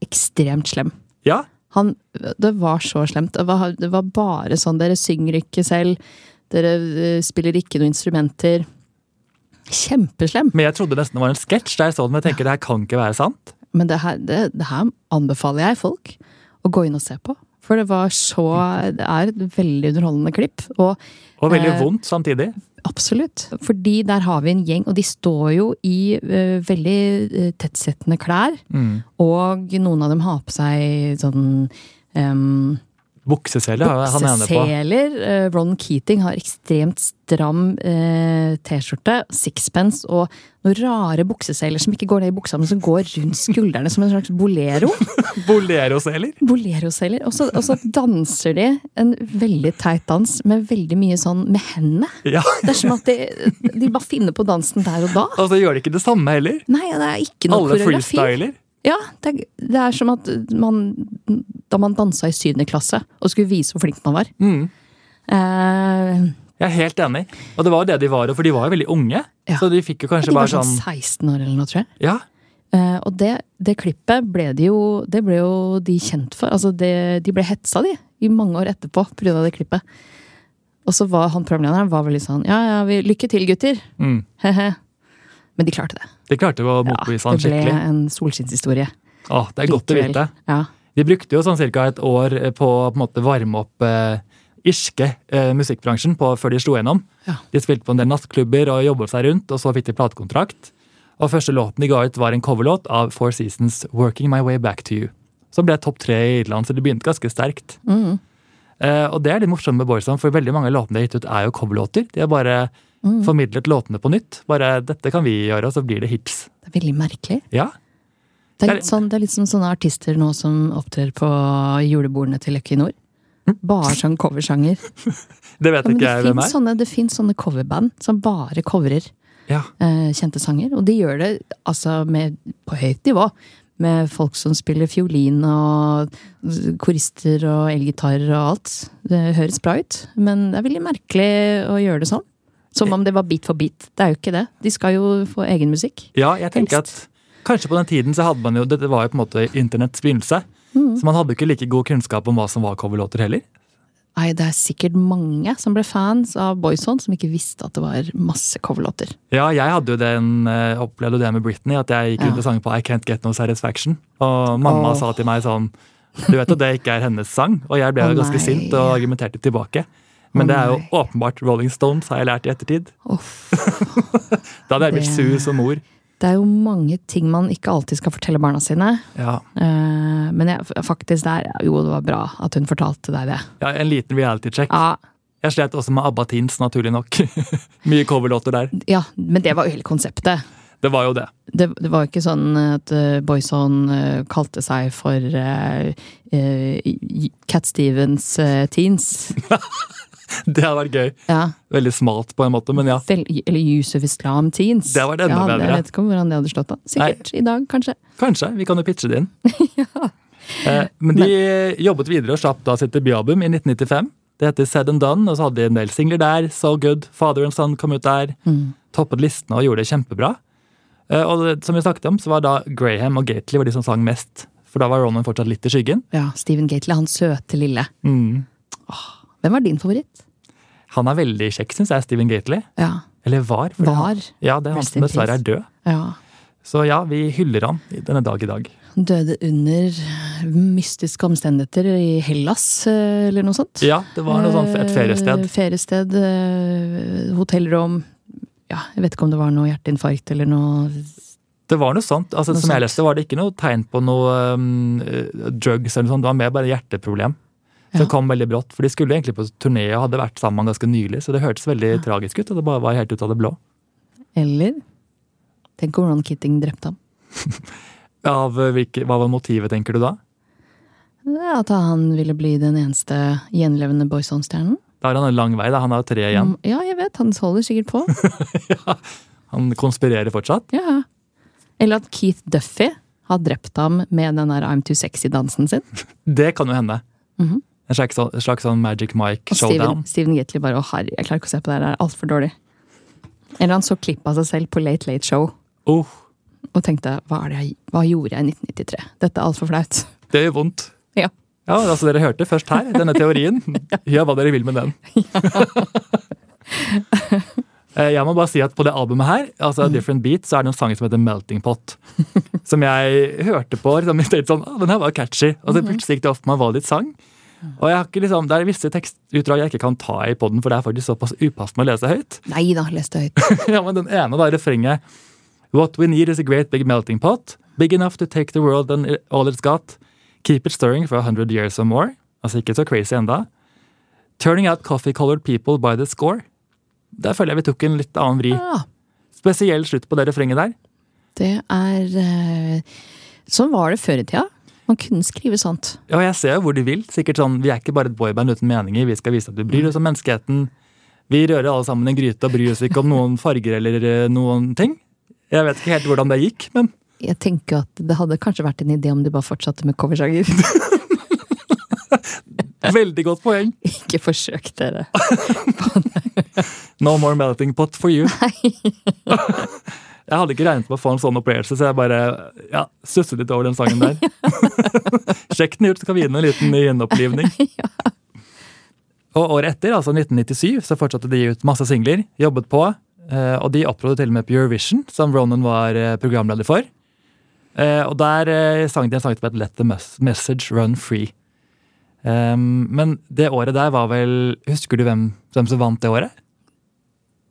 S2: ekstremt slem.
S1: Ja,
S2: Han, det var så slemt. Det var, det var bare sånn Dere synger ikke selv. Dere eh, spiller ikke noen instrumenter. Kjempeslem.
S1: Men jeg trodde nesten det var en sketsj. der jeg så den, men jeg tenker det her kan ikke være sant.
S2: Men det her, det, det her anbefaler jeg folk å gå inn og se på. For det var så Det er et veldig underholdende klipp. Og
S1: Og veldig
S2: Eh.
S1: vondt samtidig.
S2: absolutt. Fordi der har vi en gjeng, og de står jo i eh, veldig eh, tettsittende klær.
S1: Mm.
S2: Og noen av dem har på seg sånn um,
S1: Buksesele har han ene på.
S2: bukseseler. Eh, Ron Keating har ekstremt stram eh, T-skjorte, sixpence og noen rare bukseseler som ikke går ned i buksa, men som går rundt skuldrene som en slags bolero.
S1: Boleroseler.
S2: Boleroseler. Og så og så danser de en veldig teit dans med veldig mye sånn med hendene.
S1: Ja.
S2: Det er som at de, de bare finner på dansen der og da.
S1: Og så Altså, gjør de ikke det samme heller.
S2: Nei, det er ikke noe
S1: Alle
S2: koreografi.
S1: freestyler.
S2: Ja, det er, det er som at man Da man dansa i syvende klasse og skulle vise hvor flink man var.
S1: Mm.
S2: Eh,
S1: Jeg er helt enig. Og det var jo det de var, for de var jo veldig unge.
S2: Ja.
S1: Så de fikk jo kanskje
S2: de var
S1: bare
S2: sånn
S1: sånn
S2: 16 år eller noe, tror jeg.
S1: Ja,
S2: Eh, og det, det klippet ble de jo Det ble jo de kjent for. Altså det, de ble hetsa, de, i mange år etterpå pga. det klippet. Og så var han programlederen var vel litt sånn Ja, ja, vi, lykke til, gutter.
S1: Mm.
S2: Hehe. Men de klarte det.
S1: de klarte jo å
S2: Ja,
S1: motbevise han
S2: det ble
S1: skikkelig.
S2: en solskinnshistorie.
S1: Åh, det er godt å
S2: Likevel.
S1: vite.
S2: Ja.
S1: De brukte jo sånn ca. et år på å på en måte varme opp eh, irske eh, musikkbransjen på, før de slo gjennom.
S2: Ja.
S1: De spilte på en del nattklubber og jobbet seg rundt, og så fikk de platekontrakt. Og første låten de ga ut, var en coverlåt av Four Seasons' 'Working My Way Back To You'. Som ble topp tre i Irland, så det begynte ganske sterkt.
S2: Mm.
S1: Eh, og det er litt morsomt med Boyzone, for veldig mange av låtene de har gitt ut, er jo coverlåter. De har bare
S2: Mm.
S1: formidlet låtene på nytt. Bare 'dette kan vi gjøre', og så blir det hits.
S2: Det er veldig merkelig.
S1: Ja,
S2: Det
S1: Det er-
S2: er litt, sånn, det er litt som sånne artister nå som opptrer på julebordene til Equinor.
S1: Mm.
S2: Bare sånn coversanger.
S1: Det vet
S2: Ja, men
S1: ikke
S2: det
S1: jeg hvem
S2: finnes
S1: er.
S2: sånne, det finnes sånne coverband som bare covrer
S1: Ja.
S2: eh, kjente sanger. Og de gjør det altså med, på høyt nivå. Med folk som spiller fiolin og korister og elgitarer og alt. Det høres bra ut, men det er veldig merkelig å gjøre det sånn. Som om det var beat for beat. Det er jo ikke det. De skal jo få egen musikk.
S1: ja, jeg tenker at kanskje på den tiden så hadde man jo Dette var jo på en måte internetts begynnelse.
S2: Mm.
S1: Så man hadde jo ikke like god kunnskap om hva som var coverlåter heller.
S2: Nei, det er sikkert mange som ble fans av Boyzone, som ikke visste at det var masse coverlåter.
S1: Ja, jeg hadde jo den, eh, opplevde jo det med Britney, at jeg gikk rundt
S2: Ja.
S1: og sang på I Can't Get No Satisfaction. Og mamma
S2: Åh.
S1: sa til meg sånn Du vet at det ikke er hennes sang? Og jeg ble
S2: Å,
S1: jo ganske
S2: nei.
S1: sint og argumenterte tilbake. Men
S2: Å,
S1: det er jo
S2: nei.
S1: åpenbart Rolling Stones, har jeg lært i ettertid.
S2: Uff.
S1: Da hadde jeg blitt
S2: Det-
S1: sur som mor.
S2: Det er jo mange ting man ikke alltid skal fortelle barna sine.
S1: Ja.
S2: Eh, Men jeg, faktisk der Jo, det var bra at hun fortalte deg det.
S1: ja, En liten reality check.
S2: Ja,
S1: Jeg slet også med ABBA Teens, naturlig nok. Mye coverlåter der.
S2: ja men det var jo hele konseptet.
S1: Det var jo det.
S2: Det, det var jo ikke sånn at eh, Boyzone eh, kalte seg for eh, eh, Cat Stevens eh, Teens.
S1: Det hadde vært gøy.
S2: Ja.
S1: Veldig smalt på en måte, men ja.
S2: Vel, eller Yusuf Islam Teens.
S1: Det hadde vært enda
S2: ja, det-
S1: bedre.
S2: Jeg vet ikke om hvordan det hadde slått an. Sikkert i dag, kanskje.
S1: Kanskje. Vi kan jo pitche det inn. Eh, Men de jobbet videre og slapp da sitt debutalbum i 1995. Det heter Said and Done, og så hadde de en del singler der. So Good, Father and Son kom ut der. Toppet listene og gjorde det kjempebra. Eh, Og det, som vi snakket om, så var da Graham og Gately var de som sang mest. For da var Ronan fortsatt litt i skyggen.
S2: Ja, Steven Gately, han søte lille.
S1: Mm.
S2: Åh, hvem var din favoritt?
S1: Han er veldig kjekk, syns jeg, Steven Gately.
S2: Ja,
S1: Eller var. for
S2: Var.
S1: han- Ja, det er han
S2: Rest
S1: som
S2: in peace.
S1: dessverre er død.
S2: ja.
S1: Så ja, vi hyller han i denne dag i dag.
S2: døde under mystiske omstendigheter i Hellas, eh, eller noe sånt.
S1: Ja, det var noe sånn et feriested.
S2: Eh, Feriested, eh, hotellrom. Ja, jeg vet ikke om det var noe hjerteinfarkt eller noe
S1: Det var noe sånt. Altså,
S2: Noe
S1: som jeg
S2: sånt.
S1: leste, var det ikke noe tegn på noe um, eh, drugs eller noe sånt. Det var mer bare hjerteproblem. Som
S2: Ja.
S1: kom veldig brått. For de skulle egentlig på turné og hadde vært sammen ganske nylig, så det hørtes veldig tragisk ut. Og det bare var helt ut av det blå.
S2: Eller Tenk om Ron Kitting drepte ham.
S1: Av eh, hvilke, Hva var motivet, tenker du da?
S2: Ja, At han ville bli den eneste gjenlevende Boyzone-stjernen.
S1: Da har han en lang vei. da, Han har tre igjen.
S2: Mm, Ja, jeg vet. Han holder sikkert på.
S1: Han konspirerer fortsatt.
S2: Ja. Eller at Keith Duffy har drept ham med den der I'm too sexy-dansen sin.
S1: Det kan jo hende.
S2: Mhm.
S1: En slags, sånn- slags sånn Magic Mike
S2: Og Steven,
S1: showdown.
S2: Steven Gitley bare 'Å, herre, jeg klarer ikke å se på det her, det er altfor dårlig'. Eller han så klipp av seg selv på Late Late Show
S1: Oh,
S2: og tenkte hva, er det jeg, 'Hva gjorde jeg i 1993? Dette er altfor flaut'.
S1: det gjør vondt.
S2: Ja.
S1: Ja, altså Dere hørte først her, denne teorien. Gjør hva dere vil med den. Eh, Jeg må bare si at På det albumet her altså Different Beat, så er det en sang som heter Melting Pot. Som jeg hørte på liksom, og tenkte sånn, «Å, den her var catchy. Og så plutselig gikk det opp for meg hva de sang. Og jeg har ikke liksom, Det er visse tekstutdrag jeg ikke kan ta i podden, for det er faktisk såpass upassende å lese høyt.
S2: Nei da, les det høyt.
S1: Ja, men Den ene da, refrenget What we need is a great big melting pot Big enough to take the world and all it's got Keep it stirring for a hundred years or more Altså ikke så crazy enda Turning out coffee-colored people by the score Der føler jeg vi tok en litt annen vri
S2: Ja,
S1: Spesiell slutt på det refrenget der
S2: det er eh, Sånn var det før i tida. Man kunne skrive sånt.
S1: Ja, jeg ser jo hvor de vil Sikkert sånn, vi er ikke bare et boyband uten meninger Vi skal vise at vi bryr oss om menneskeheten Vi rører alle sammen en gryte og bryr oss ikke om noen farger Eller eh, noen ting Jeg vet ikke helt hvordan det gikk, men
S2: Jeg tenker at det hadde kanskje vært en idé om de bare fortsatte med coversanger.
S1: veldig godt poeng
S2: Ikke forsøk dere.
S1: No more melting pot for you. jeg hadde ikke regnet med å få en sånn opplevelse, så jeg bare ja, susset litt over den sangen der. Sjekk den ut, så kan vi gi den en liten gjenopplivning. Og året etter, altså 1997, så fortsatte de ut masse singler, jobbet på, eh, og de opptrådte til og med på Eurovision, som Ronan var eh, programleder for. Eh, Og der eh, sang de en sang som het Let the Mes- Message Run Free. Ehm, Men det året der var vel Husker du hvem, hvem som vant det året?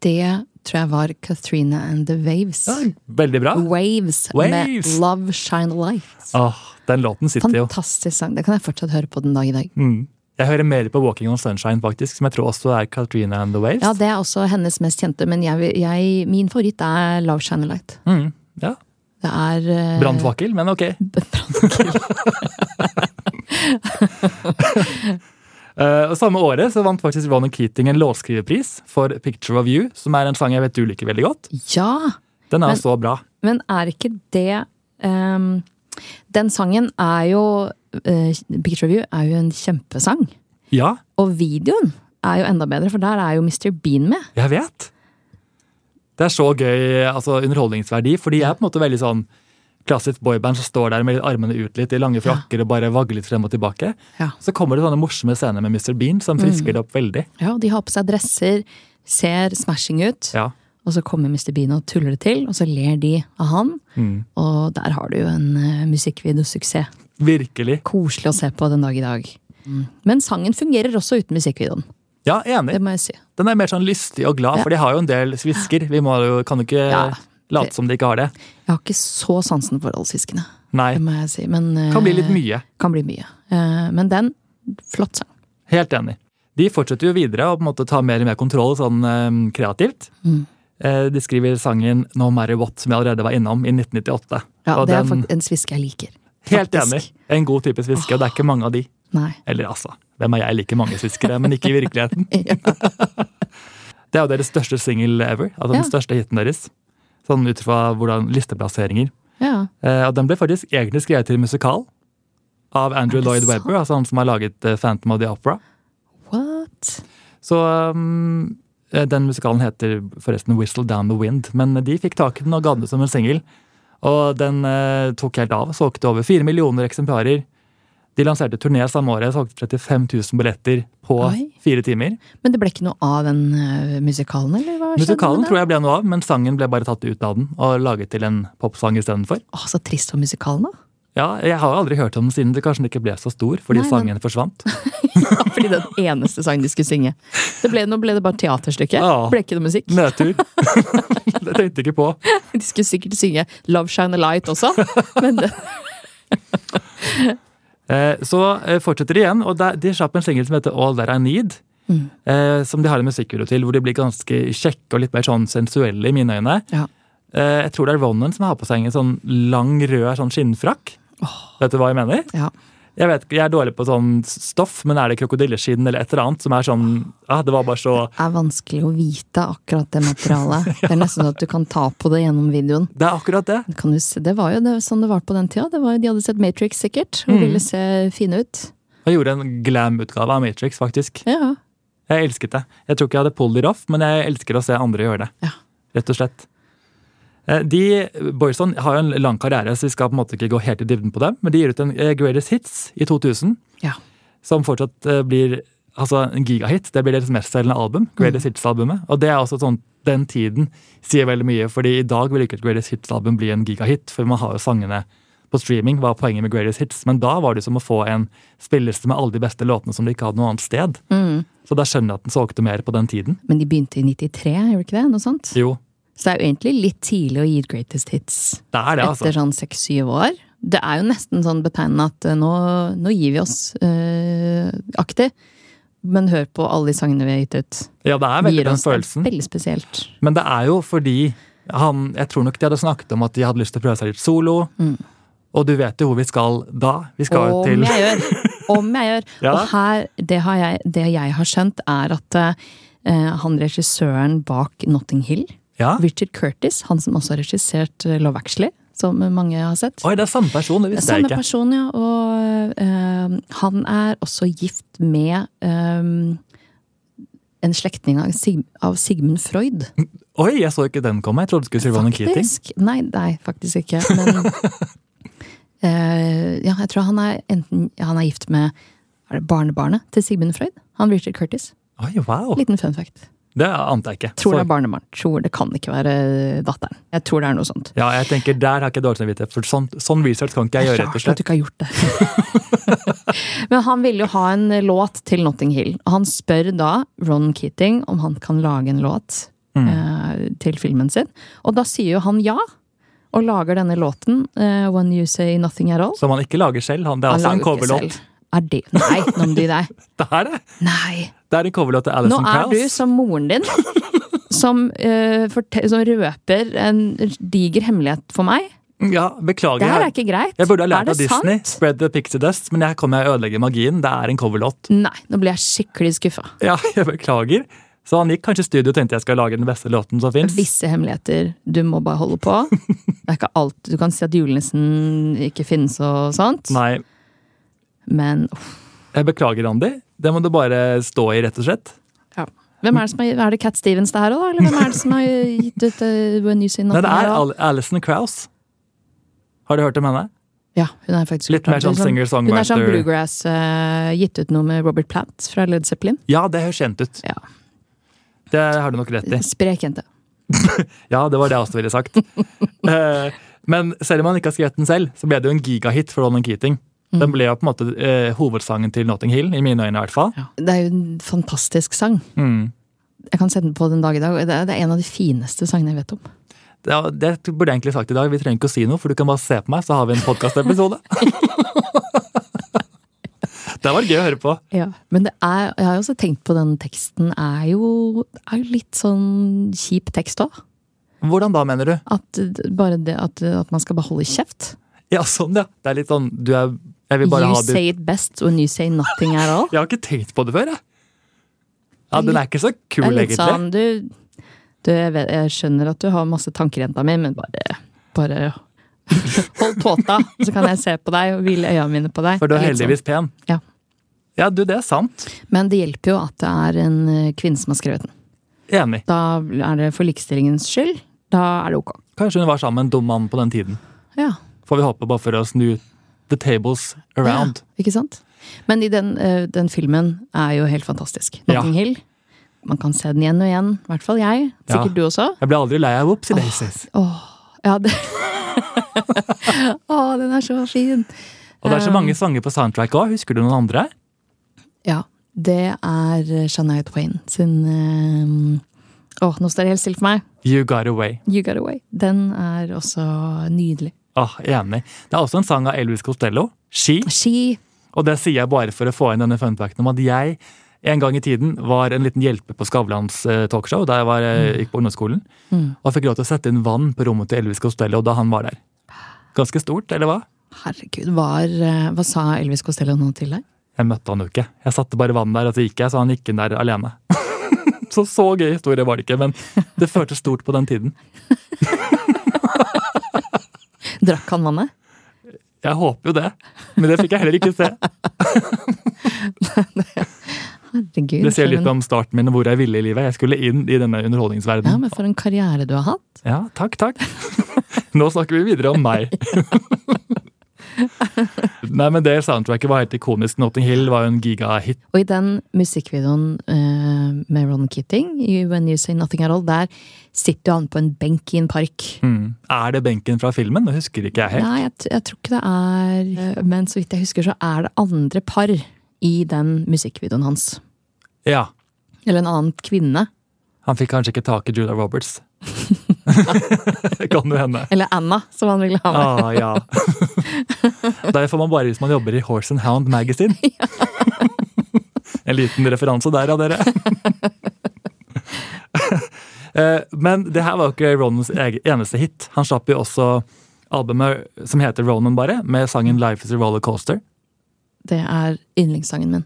S2: Det tror jeg var Katrina and the Waves.
S1: Ja, Veldig bra.
S2: Waves, med
S1: Waves.
S2: Love Shine Light.
S1: Åh, den låten sitter jo.
S2: Fantastisk sang. Det kan jeg fortsatt høre på den dag i dag.
S1: Mm. Jeg hører mer på Walking on Sunshine, faktisk, som jeg tror også er Katrina and the Waves.
S2: Ja, Det er også hennes mest kjente, men jeg, vil- jeg, min favoritt er Love Shine Light.
S1: mm. ja.
S2: Det er eh,
S1: Brannfakkel, men ok. Eh, og samme året så vant faktisk Ronan Keating en låtskriverpris for Picture of You, som er en sang jeg vet du liker veldig godt.
S2: Ja!
S1: Den er
S2: Men-
S1: jo så bra.
S2: Men er ikke det ehm, Den sangen er jo eh, Picture of You er jo en kjempesang.
S1: Ja,
S2: Og videoen er jo enda bedre, for der er jo Mr. Bean med.
S1: jeg vet. Det er så gøy altså underholdningsverdi, for de er på en måte veldig sånn klassisk boyband som står der med armene ut litt i lange frakker og bare vagler litt frem og tilbake.
S2: Ja.
S1: Så kommer det sånne morsomme scener med Mr. Bean
S2: Mm.
S1: som frisker det opp veldig.
S2: Ja, og De har på seg dresser, ser smashing ut,
S1: Ja.
S2: og så kommer Mr. Bean og tuller det til, og så ler de av han. Og der har du jo en uh, musikkvideosuksess.
S1: Virkelig.
S2: Koselig å se på den dag i dag. Men sangen fungerer også uten musikkvideoen.
S1: Mm. Ja, enig.
S2: Det må jeg si.
S1: Den er mer sånn lystig og glad, for de har jo en del svisker. Vi må jo, kan jo ikke
S2: Ja,
S1: late som de ikke har det.
S2: Jeg har ikke så sansen for oldsiskene.
S1: Nei.
S2: Det må jeg si. Men, eh,
S1: Kan bli litt mye.
S2: Kan bli mye. Eh, men den, flott sang.
S1: Helt enig. De fortsetter jo videre og på en måte tar mer og mer kontroll sånn eh, kreativt.
S2: Mm.
S1: Eh, De skriver sangen No Matter What, som jeg allerede var innom, i 1998.
S2: Ja,
S1: og
S2: det er
S1: den,
S2: fakt- en sviske jeg liker.
S1: helt
S2: faktisk-
S1: enig. En god type sviske, og det er ikke mange av de.
S2: Nei.
S1: Eller altså, hvem er jeg? Like mange sviskere, men ikke i virkeligheten. Det er jo deres største singel ever. Altså
S2: Ja.
S1: den største hiten deres. Sånn ut fra hvordan listeplasseringer.
S2: Ja.
S1: Eh, og den ble faktisk egentlig skrevet til musikal av Andrew
S2: det
S1: Lloyd
S2: sant?
S1: Webber, altså han som har laget eh, Phantom of the Opera.
S2: What?
S1: Så um, eh, den musikalen heter forresten Whistle Down the Wind, men de fikk tak i den og ga den ut som en singel. Og den eh, tok helt av. Solgte over fire millioner eksemplarer. De lanserte turné samme året, solgte 35 000 billetter på
S2: Oi.
S1: fire timer.
S2: Men det ble ikke noe av den eh, musikalen, eller hva skjedde
S1: Musikalen
S2: med den?
S1: tror jeg ble noe av, men sangen ble bare tatt ut av den og laget til en popsang istedenfor.
S2: Å, så trist for musikalen, da.
S1: Ja, Jeg har jo aldri hørt om den siden det kanskje ikke ble så stor fordi
S2: Nei, men-
S1: sangen forsvant.
S2: Ja, fordi det er den eneste sangen de skulle synge. Det ble, nå ble det bare teaterstykke.
S1: Ja.
S2: Ble ikke det musikk.
S1: Nedtur. det tenkte jeg ikke på.
S2: De skulle sikkert synge Love Shine a Light også, men det,
S1: Eh, Så eh, fortsetter de igjen, og der, de slapp en singel som heter All That I Need.
S2: Mm.
S1: eh, Som de har en musikkvideo til, hvor de blir ganske kjekke og litt mer sånn sensuelle i mine øyne.
S2: ja.
S1: Eh, Jeg tror det er Ronan som har på seg en sånn lang, rød sånn skinnfrakk. Vet du hva jeg mener?
S2: ja.
S1: Jeg vet ikke, jeg er dårlig på sånn stoff, men er det krokodilleskinn eller et eller annet som er sånn ah, Det var bare så
S2: er vanskelig å vite akkurat det materialet. Det er nesten sånn at du kan ta på det gjennom videoen.
S1: Det er akkurat det.
S2: Kan du se, det var jo det, sånn det var på den tida. Det var, de hadde sett Matrix sikkert,
S1: Mm.
S2: og ville se fine ut.
S1: Jeg gjorde en glam-utgave av Matrix, faktisk.
S2: Ja,
S1: Jeg elsket det. Jeg tror ikke jeg hadde pulled it off, men jeg elsker å se andre gjøre det.
S2: Ja.
S1: Rett og slett. Eh, De, Boyson har jo en lang karriere, så vi skal på en måte ikke gå helt i dybden på dem. Men de gir ut en eh, Greatest Hits i 2000,
S2: ja.
S1: som fortsatt eh, blir altså en gigahit. Det blir deres mestselgende album, Greatest Hits-albumet. Og det er også sånn, den tiden sier veldig mye, fordi i dag vil ikke et Greatest Hits-album bli en gigahit, for man har jo sangene på streaming, var poenget med Greatest Hits. Men da var det som å få en spilleliste med alle de beste låtene som de ikke hadde noe annet sted. Så da skjønner jeg at den solgte mer på den tiden.
S2: Mm. Men de begynte i 93, gjorde de ikke det? Noe sånt?
S1: Jo,
S2: Så det er jo egentlig litt tidlig å gi ut greatest hits
S1: det er det, altså.
S2: etter sånn seks-syv år. Det er jo nesten sånn betegnende at eh, nå, nå gir vi oss eh, aktig. Men hør på alle de sangene vi har gitt ut.
S1: Ja, det er
S2: Det
S1: veldig
S2: gir
S1: den
S2: oss det er
S1: følelsen.
S2: veldig spesielt.
S1: Men det er jo fordi han Jeg tror nok de hadde snakket om at de hadde lyst til å prøve seg litt solo.
S2: Mm.
S1: Og du vet jo hvor vi skal da. Vi skal jo
S2: Om
S1: til
S2: jeg gjør! Om jeg gjør.
S1: Ja.
S2: Og her, det, har jeg, det jeg har skjønt, er at eh, han regissøren bak Notting Hill,
S1: Ja.
S2: Richard Curtis, han som også har regissert eh, Love Actually, som mange har sett
S1: Oi, det er samme person! Det visste jeg
S2: Samme
S1: ikke.
S2: person, ja. Og eh, han er også gift med eh, en slektning av, Sig av Sigmund Freud.
S1: Oi, jeg så ikke den komme. Jeg trodde du skulle si Ronan Keating.
S2: Faktisk? Nei, nei, faktisk ikke. Men eh, ja, jeg tror han er enten Han er gift med er det barnebarnet til Sigmund Freud. Han Richard Curtis.
S1: Oi, wow!
S2: Liten fun fact.
S1: Det ante jeg ikke.
S2: Tror det
S1: Så-
S2: er barnebarn. Tror det kan ikke være datteren. Jeg tror det er noe sånt.
S1: ja, jeg tenker Der har jeg ikke dårlig samvittighet, for sånn, sånn research kan ikke jeg gjøre. rett og
S2: Rart at
S1: slett.
S2: du ikke har gjort det. Men han ville jo ha en låt til Notting Hill. Og han spør da Ron Keating om han kan lage en låt
S1: Mm.
S2: eh, til filmen sin. Og da sier jo han ja, og lager denne låten eh, When You Say Nothing At All.
S1: Som han ikke lager selv. Han, det er altså en
S2: lager jo ikke
S1: coverlåt.
S2: selv. Er det Nei, nå må du gi deg.
S1: Det er det!
S2: Nei.
S1: Det er en coverlåt til
S2: Nå
S1: Alison
S2: er du
S1: Krauss.
S2: som moren din, som, eh, forte- som røper en diger hemmelighet for meg.
S1: Ja, beklager.
S2: Det
S1: jeg-
S2: her er ikke greit.
S1: Jeg burde ha lært
S2: Er
S1: av
S2: det
S1: Disney.
S2: sant?
S1: Spread the pixie dust. Men her kommer jeg og ødelegger magien. Det er en coverlåt.
S2: Nei, nå ble jeg skikkelig skuffa.
S1: Ja, jeg beklager. Så han gikk kanskje i studio og tenkte jeg skal lage den beste låten som fins.
S2: visse hemmeligheter du må bare holde på. Det er ikke alt. Du kan si at julenissen ikke finnes og sånt,
S1: Nei,
S2: men uff,
S1: jeg beklager, Andy. Det må du bare stå i, rett og slett.
S2: ja. Hvem er det som har, er det Cat Stevens det her òg, da? Eller hvem er det som har gitt ut eh, When You See
S1: Nei,
S2: Nothing?
S1: det
S2: At
S1: er
S2: All?
S1: Al Alison Krauss. Har du hørt om henne?
S2: Ja, hun er faktisk
S1: Litt mer sånn
S2: Hun er sånn
S1: singer-songwriter.
S2: bluegrass, eh, gitt ut noe med Robert Plant fra Led Zeppelin.
S1: Ja, det høres kjent ut.
S2: Ja.
S1: Det har du nok rett i.
S2: Sprek jente.
S1: Ja, det var det jeg også ville sagt. Eh, Men selv om han ikke har skrevet den selv, så ble det jo en gigahit for Ronan Keating.
S2: Mm.
S1: Den ble jo på en måte eh, hovedsangen til Notting Hill, i mine øyne i hvert fall.
S2: Det er jo en fantastisk sang.
S1: Mm.
S2: Jeg kan sette den på den dag i dag. og Det er, det er en av de fineste sangene jeg vet om.
S1: Ja, det burde jeg egentlig sagt i dag. Vi trenger ikke å si noe, for du kan bare se på meg, så har vi en podkastepisode. det var gøy å høre på.
S2: Ja, men det er, jeg har jo også tenkt på den teksten er jo, er jo litt sånn kjip tekst òg.
S1: Hvordan da, mener du?
S2: At d- bare det at, at man skal bare holde kjeft.
S1: Ja, sånn, ja. Det er litt sånn du er, Jeg vil bare
S2: You
S1: ha det
S2: say it best when you say nothing at all.
S1: Jeg har ikke tenkt på det før, jeg. Ja, Den er ikke så
S2: Det
S1: kul,
S2: er litt
S1: egentlig.
S2: sånn, du, du jeg, vet, jeg skjønner at du har masse tanker i jenta mi, men bare, bare hold tåta, så kan jeg se på deg og hvile øya mine på deg.
S1: For du er
S2: Litt sånn.
S1: heldigvis pen.
S2: Ja.
S1: Ja, du, det er sant.
S2: Men det hjelper jo at det er en eh, kvinne som har skrevet den.
S1: Enig.
S2: Da er det for likestillingens skyld. Da er det ok.
S1: Kanskje hun var sammen med en dum mann på den tiden.
S2: Ja.
S1: Får vi håpe, bare for å snu the tables around.
S2: Ja, ikke sant? Men i den, eh, den filmen er jo helt fantastisk. Notting Hill. Man kan se den igjen og igjen. I hvert fall jeg. Sikkert
S1: Ja.
S2: du også.
S1: Jeg ble aldri lei av Whoopsie Daisies.
S2: Åh, ja, det, Å, den er så fin!
S1: Og
S2: eh.
S1: det er så mange sanger på soundtrack òg. Husker du noen andre?
S2: Ja. Det er Shania Twain sin eh, Å, nå står det helt stille for meg.
S1: You Got Away.
S2: You Got Away. Den er også nydelig.
S1: Åh, Ah, enig. Det er også en sang av Elvis Costello, She.
S2: Ski.
S1: Og det sier jeg bare for å få inn denne funfacten om at jeg en gang i tiden var en liten hjelpe på Skavlans eh, talkshow da jeg var, eh, gikk på ungdomsskolen.
S2: Mm,
S1: Og fikk lov til å sette inn vann på rommet til Elvis Costello da han var der. Ganske stort, eller hva?
S2: Herregud, var, eh, hva sa Elvis Costello nå til deg?
S1: Jeg møtte han jo ikke. Jeg satte bare vann der, og så gikk jeg, så han gikk inn der alene. Så så gøy historie var det ikke, men det føltes stort på den tiden.
S2: Drakk han vannet?
S1: Jeg håper jo det, men det fikk jeg heller ikke se.
S2: Herregud.
S1: Det sier
S2: for
S1: litt
S2: en-
S1: om starten min og hvor jeg ville i livet. Jeg skulle inn i denne
S2: Ja,
S1: underholdningsverdenen.
S2: men for en karriere du har hatt.
S1: Ja, takk, takk. Nå snakker vi videre om meg. Nei, men Det soundtracket var helt ikonisk. Notting Hill var jo en gigahit.
S2: Og i den musikkvideoen eh, med Ron Keating, i When You Say Nothing At All, der sitter jo han på en benk i en park.
S1: Mm. Er det benken fra filmen? Det husker ikke jeg helt.
S2: Nei, jeg, t- jeg tror ikke det er eh, Men så vidt jeg husker, så er det andre par i den musikkvideoen hans.
S1: Ja,
S2: Eller en annen kvinne.
S1: Han fikk kanskje ikke tak i Julia Roberts. kan jo hende.
S2: Eller Anna, som han ville ha med.
S1: Ah, ja. Der får man bare hvis man jobber i Horse and Hound Magazine. en liten referanse der, ja, dere. Eh, Men det her var jo ikke Ronans eg- eneste hit. Han slapp jo også albumet som heter Ronan, bare, med sangen 'Life Is A Roller Coaster'.
S2: Det er yndlingssangen min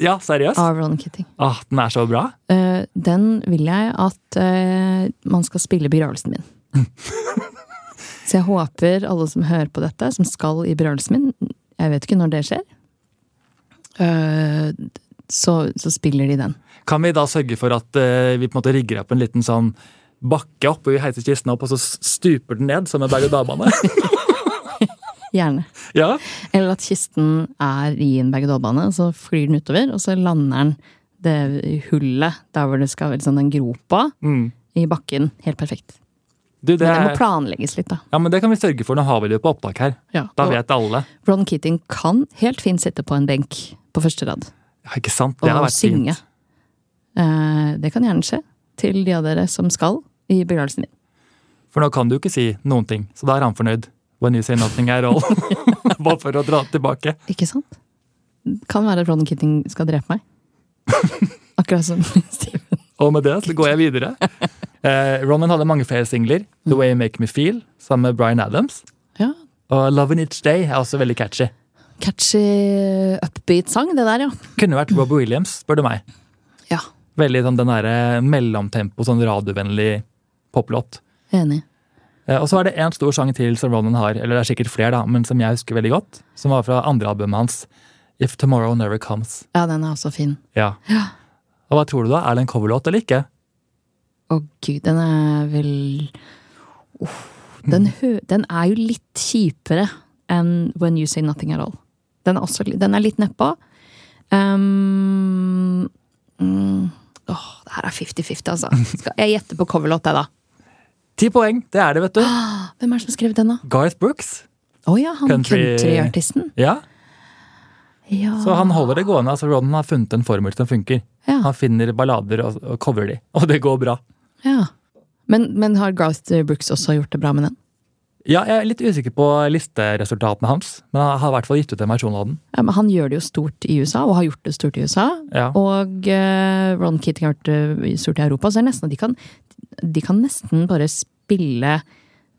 S1: Ja, seriøst?
S2: av Ron Keating.
S1: Ah, den er så bra.
S2: Eh, den vil jeg at eh, man skal spille i begravelsen min. Så jeg håper alle som hører på dette, som skal i begravelsen min Jeg vet ikke når det skjer. eh, så, så spiller de den.
S1: Kan vi da sørge for at eh, vi på en måte rigger opp en liten sånn bakke opp, og vi heiser kisten opp, og så stuper den ned som en berg-og-dal-bane?
S2: Gjerne.
S1: ja.
S2: Eller at kisten er i en berg-og-dal-bane, og så flyr den utover, og så lander den det hullet der hvor det skal være sånn den gropa
S1: Mm.
S2: i bakken. Helt perfekt.
S1: Du, det,
S2: Men det må
S1: er,
S2: planlegges litt, da.
S1: ja, men det kan vi sørge for. Nå har vi det jo på opptak her.
S2: Ja.
S1: Da
S2: og
S1: vet alle.
S2: Ron Keating kan helt fint sitte på en benk på første rad
S1: Ja, ikke sant? Det har
S2: og
S1: vært fint.
S2: synge. Eh, det kan gjerne skje til de av dere som skal i begravelsen min.
S1: For nå kan du ikke si noen ting, så da er han fornøyd. When you say nothing at all. Bare for å dra det tilbake.
S2: Ikke sant? Kan være at Ron Keating skal drepe meg. Akkurat som Steven.
S1: Og med det så går jeg videre. Eh, Ronan hadde mange flere singler. The Way You Make Me Feel sammen med Bryan Adams.
S2: Ja,
S1: Og Love In Each Day er også veldig catchy.
S2: catchy upbeat-sang, det der, ja.
S1: Kunne vært Robbie Williams, spør du meg.
S2: Ja,
S1: Veldig sånn den derre mellomtempo, sånn radiovennlig poplåt.
S2: Enig.
S1: Eh, Og så er det én stor sang til som Ronan har, eller det er sikkert flere, da, men som jeg husker veldig godt. Som var fra andre albumet hans, If Tomorrow Never Comes.
S2: Ja, den er også fin.
S1: Ja. Og hva tror du da? Er det en coverlåt eller ikke?
S2: Å gud, den er vel Uff,
S1: Mm.
S2: den, hø... den er jo litt kjipere enn When You Say Nothing At All. Den er, også... li- den er litt nedpå. Um... Mm. Åh, det her er 50-50, altså. Skal... Jeg gjetter på coverlåt, jeg, da.
S1: Ti poeng, det er det, vet du.
S2: Ah, Hvem er det som har skrevet den, da?
S1: Garth Brooks.
S2: Å ja, han
S1: Country-
S2: countryartisten.
S1: Ja,
S2: Ja.
S1: Så han holder det gående. altså Ronan har funnet en formel som funker.
S2: Ja.
S1: Han finner ballader og, og coverer de, og det går bra.
S2: ja. Men, men har Garth Brooks også gjort det bra med den?
S1: Ja, Jeg er litt usikker på listeresultatene hans, men han har i hvert fall gitt ut en versjon av den.
S2: Ja, men han gjør det jo stort i USA, og har gjort det stort i USA.
S1: Ja.
S2: Og eh, Ron Keating har gjort det stort i Europa. Så det er nesten at de kan, de kan nesten bare spille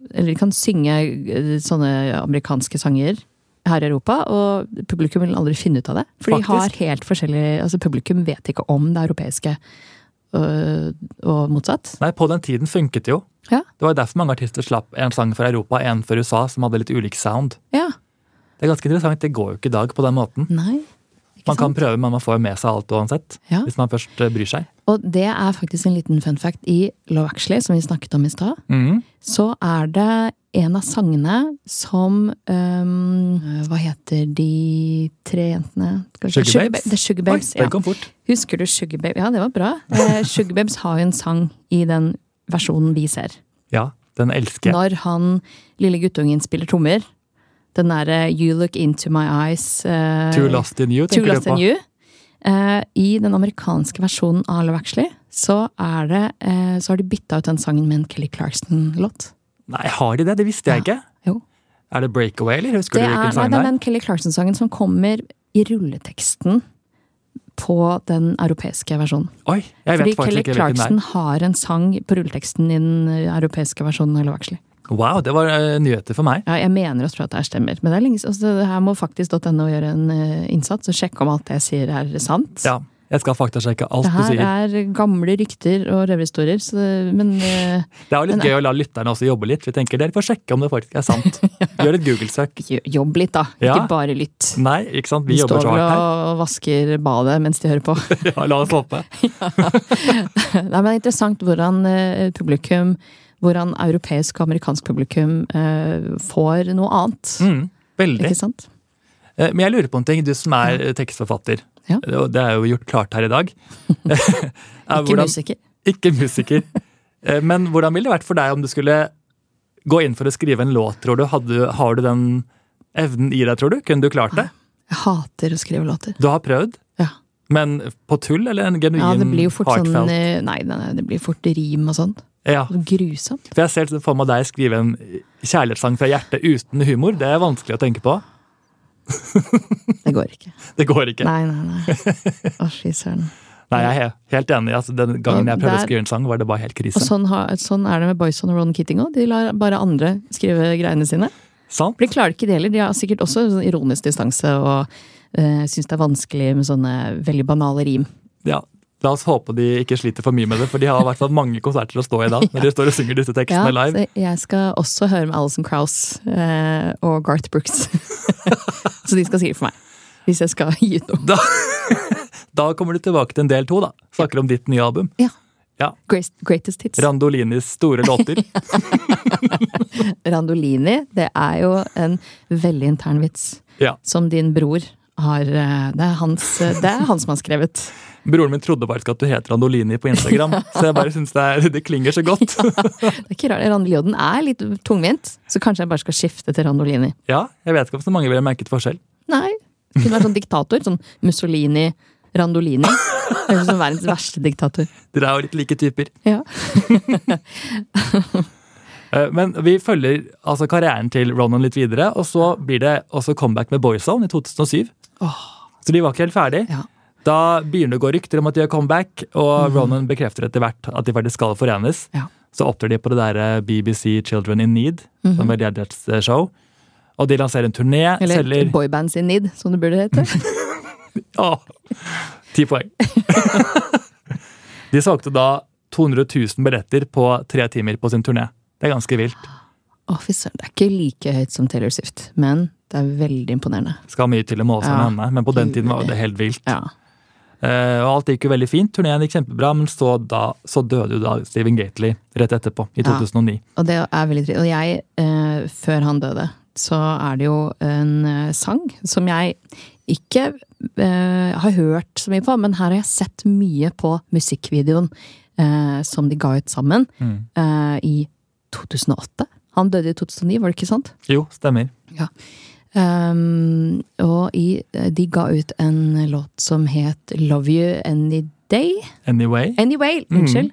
S2: Eller de kan synge eh, sånne amerikanske sanger her i Europa, og publikum vil aldri finne ut av det. For de har
S1: Faktisk.
S2: helt forskjellige Altså, publikum vet ikke om det europeiske øh, og motsatt.
S1: Nei, på den tiden funket det jo.
S2: Ja.
S1: Det var jo derfor mange artister slapp en sang fra Europa, en fra USA, som hadde litt ulik sound.
S2: Ja.
S1: Det er ganske interessant. Det går jo ikke i dag på den måten.
S2: Nei. Ikke
S1: Man kan
S2: sant?
S1: prøve, men man får jo med seg alt uansett.
S2: Ja.
S1: Hvis man først eh, bryr seg.
S2: Og det er faktisk en liten fun fact i Love Actually, som vi snakket om i stad.
S1: Mhm.
S2: så er det en av sangene som øhm, Hva heter de tre jentene? Kanskje-
S1: Sugar Babes?
S2: Ba- Det er Sugar
S1: Oi,
S2: Babes,
S1: det
S2: ja.
S1: kom fort.
S2: Husker du Sugar Babes? Ja, det var bra. Eh, Sugar Babes har jo en sang i den versjonen vi ser.
S1: Ja. Den elsker jeg.
S2: Når han lille guttungen spiller trommer. Den derre 'You look into my eyes' eh,
S1: Too Lost in You,
S2: Too
S1: tenker du
S2: Lost
S1: på.
S2: in You. Eh, I den amerikanske versjonen av Love Actually så, er det, eh, så har de bytta ut den sangen med en Kelly Clarkson-låt.
S1: Nei, har de det? Det visste jeg ikke.
S2: Jo.
S1: Er det Breakaway, eller husker du
S2: Det er,
S1: hvilken
S2: nei,
S1: sang
S2: det
S1: det
S2: er
S1: er?
S2: den Kelly Clarkson-sangen som kommer i rulleteksten på den europeiske versjonen.
S1: Oi, jeg
S2: Fordi
S1: vet faktisk
S2: Kelly
S1: ikke hvilken det
S2: Clarkson
S1: er.
S2: har en sang på rulleteksten i den eh, europeiske versjonen av Love Actually.
S1: Wow, det var eh, nyheter for meg.
S2: Ja, jeg mener å tro at det her stemmer, men det er lenge siden. Altså, det her må faktisk.no gjøre en eh, innsats og sjekke om alt det jeg sier er sant.
S1: Ja, jeg skal faktasjekke alt
S2: det
S1: du
S2: her
S1: sier.
S2: er gamle rykter og røverhistorier, så det, men eh,
S1: Det er jo litt
S2: Men-
S1: gøy å la lytterne også jobbe litt. Vi tenker dere får sjekke om det faktisk er sant. Gjør et Google-søk.
S2: jo- jobb litt, da.
S1: Ja.
S2: Ikke bare lytt.
S1: Nei, ikke sant? Vi
S2: de
S1: jobber
S2: står
S1: så
S2: vel
S1: hardt her.
S2: og vasker badet mens de hører på.
S1: Ja, la oss håpe.
S2: Nei, men det er interessant hvordan eh, publikum, hvordan europeisk og amerikansk publikum eh, får noe annet.
S1: Mm, veldig.
S2: Ikke sant?
S1: Eh, Men jeg lurer på en ting, du som er eh, tekstforfatter. Eh,
S2: Ja.
S1: Og Det er jo gjort klart her i dag. Er
S2: Ikke
S1: hvordan-
S2: musiker.
S1: Ikke musiker. Eh, Men hvordan ville det vært for deg om du skulle gå inn for å skrive en låt, tror du? Hadde, har du den evnen i deg, tror du? Kunne du klart det?
S2: Jeg hater å skrive låter.
S1: Du har prøvd,
S2: Ja.
S1: men på tull eller en genuin
S2: Ja, det blir jo fort sånn
S1: heartfelt?
S2: eh, Nei, nei, nei, det blir fort rim og sånn.
S1: Ja,
S2: Så Grusomt.
S1: for jeg ser liksom for meg deg skrive en kjærlighetssang fra hjertet uten humor. Det er vanskelig å tenke på.
S2: Det går ikke.
S1: Det går ikke. Nei,
S2: Nei, nei, nei. Å, fy søren.
S1: jeg er he- helt enig. Altså, den gangen jeg
S2: Og
S1: prøvde å
S2: der-
S1: skrive en sang, var det bare helt
S2: Og
S1: krise.
S2: sånn, har, sånn er det med Boyson og Ron Kitting òg. De lar bare andre skrive greiene sine.
S1: Sant?
S2: For de klarer ikke det heller. De har sikkert også sånn ironisk distanse og uh, syns det er vanskelig med sånne veldig banale rim.
S1: Ja. La oss håpe de ikke sliter for mye med det, for de har i hvert fall mange konserter å stå i da, når de står og synger disse
S2: Ja,
S1: tekstene live.
S2: så jeg skal også høre med Alison Krauss eh, og Garth Brooks. så de skal skrive for meg. Hvis jeg skal gi ut noe.
S1: Da, da kommer du tilbake til en del to, da. Snakker om ditt nye album.
S2: Ja.
S1: Ja.
S2: Great, greatest hits.
S1: Randolinis store låter.
S2: Randolini, det er jo en veldig intern vits.
S1: Ja.
S2: Som din bror har eh, Det er hans, eh, det er han som har skrevet.
S1: Broren min trodde faktisk at du het Randolini på Instagram, så jeg bare syns det, er- det klinger så godt.
S2: Det er ikke rart. Randolioden er litt tungvint, så kanskje jeg bare skal skifte til Randolini.
S1: Ja, jeg vet ikke om så mange ville merket forskjell.
S2: Nei. Det kunne vært sånn diktator. Sånn Mussolini, Randolini. Høres ut som verdens verste diktator.
S1: Dere er jo litt like typer.
S2: Ja.
S1: Eh, Men vi følger altså karrieren til Ronan litt videre, og så blir det også comeback med Boyzone i 2007. Så de var ikke helt ferdig.
S2: Ja. Mm.
S1: Da begynner det å gå rykter om at de har comeback, og Ronan bekrefter etter hvert at de faktisk skal forenes.
S2: Ja.
S1: Så opptrer de på det der eh, BBC Children in Need,
S2: Mhm.
S1: som er deres eh, show. Og de lanserer en turné,
S2: Eller
S1: selger
S2: Boybands in need, som det burde hete.
S1: Åh, Ti poeng. de solgte da 200 000 billetter på tre timer på sin turné. Det er ganske vilt.
S2: Å, fy søren. Det er ikke like høyt som Taylor Swift, men det er veldig imponerende.
S1: Skal mye til å måle seg
S2: Ja,
S1: med henne, men på den tiden var
S2: gud.
S1: det helt vilt.
S2: Ja.
S1: Eh, og alt gikk jo veldig fint, turnéen gikk kjempebra, men så, da, så døde jo da Steven Gately rett etterpå, i
S2: Ja.
S1: 2009.
S2: Og det er veldig trist. Og jeg, eh, før han døde, så er det jo en eh, sang som jeg ikke eh, har hørt så mye på, men her har jeg sett mye på musikkvideoen eh, som de ga ut sammen eh, i 2008. Han døde i 2009, var det ikke sant?
S1: Jo, stemmer.
S2: Ja. Ehm, og i, de ga ut en låt som het Love You Any Day.
S1: Anyway.
S2: Anyway,
S1: Mhm.
S2: unnskyld.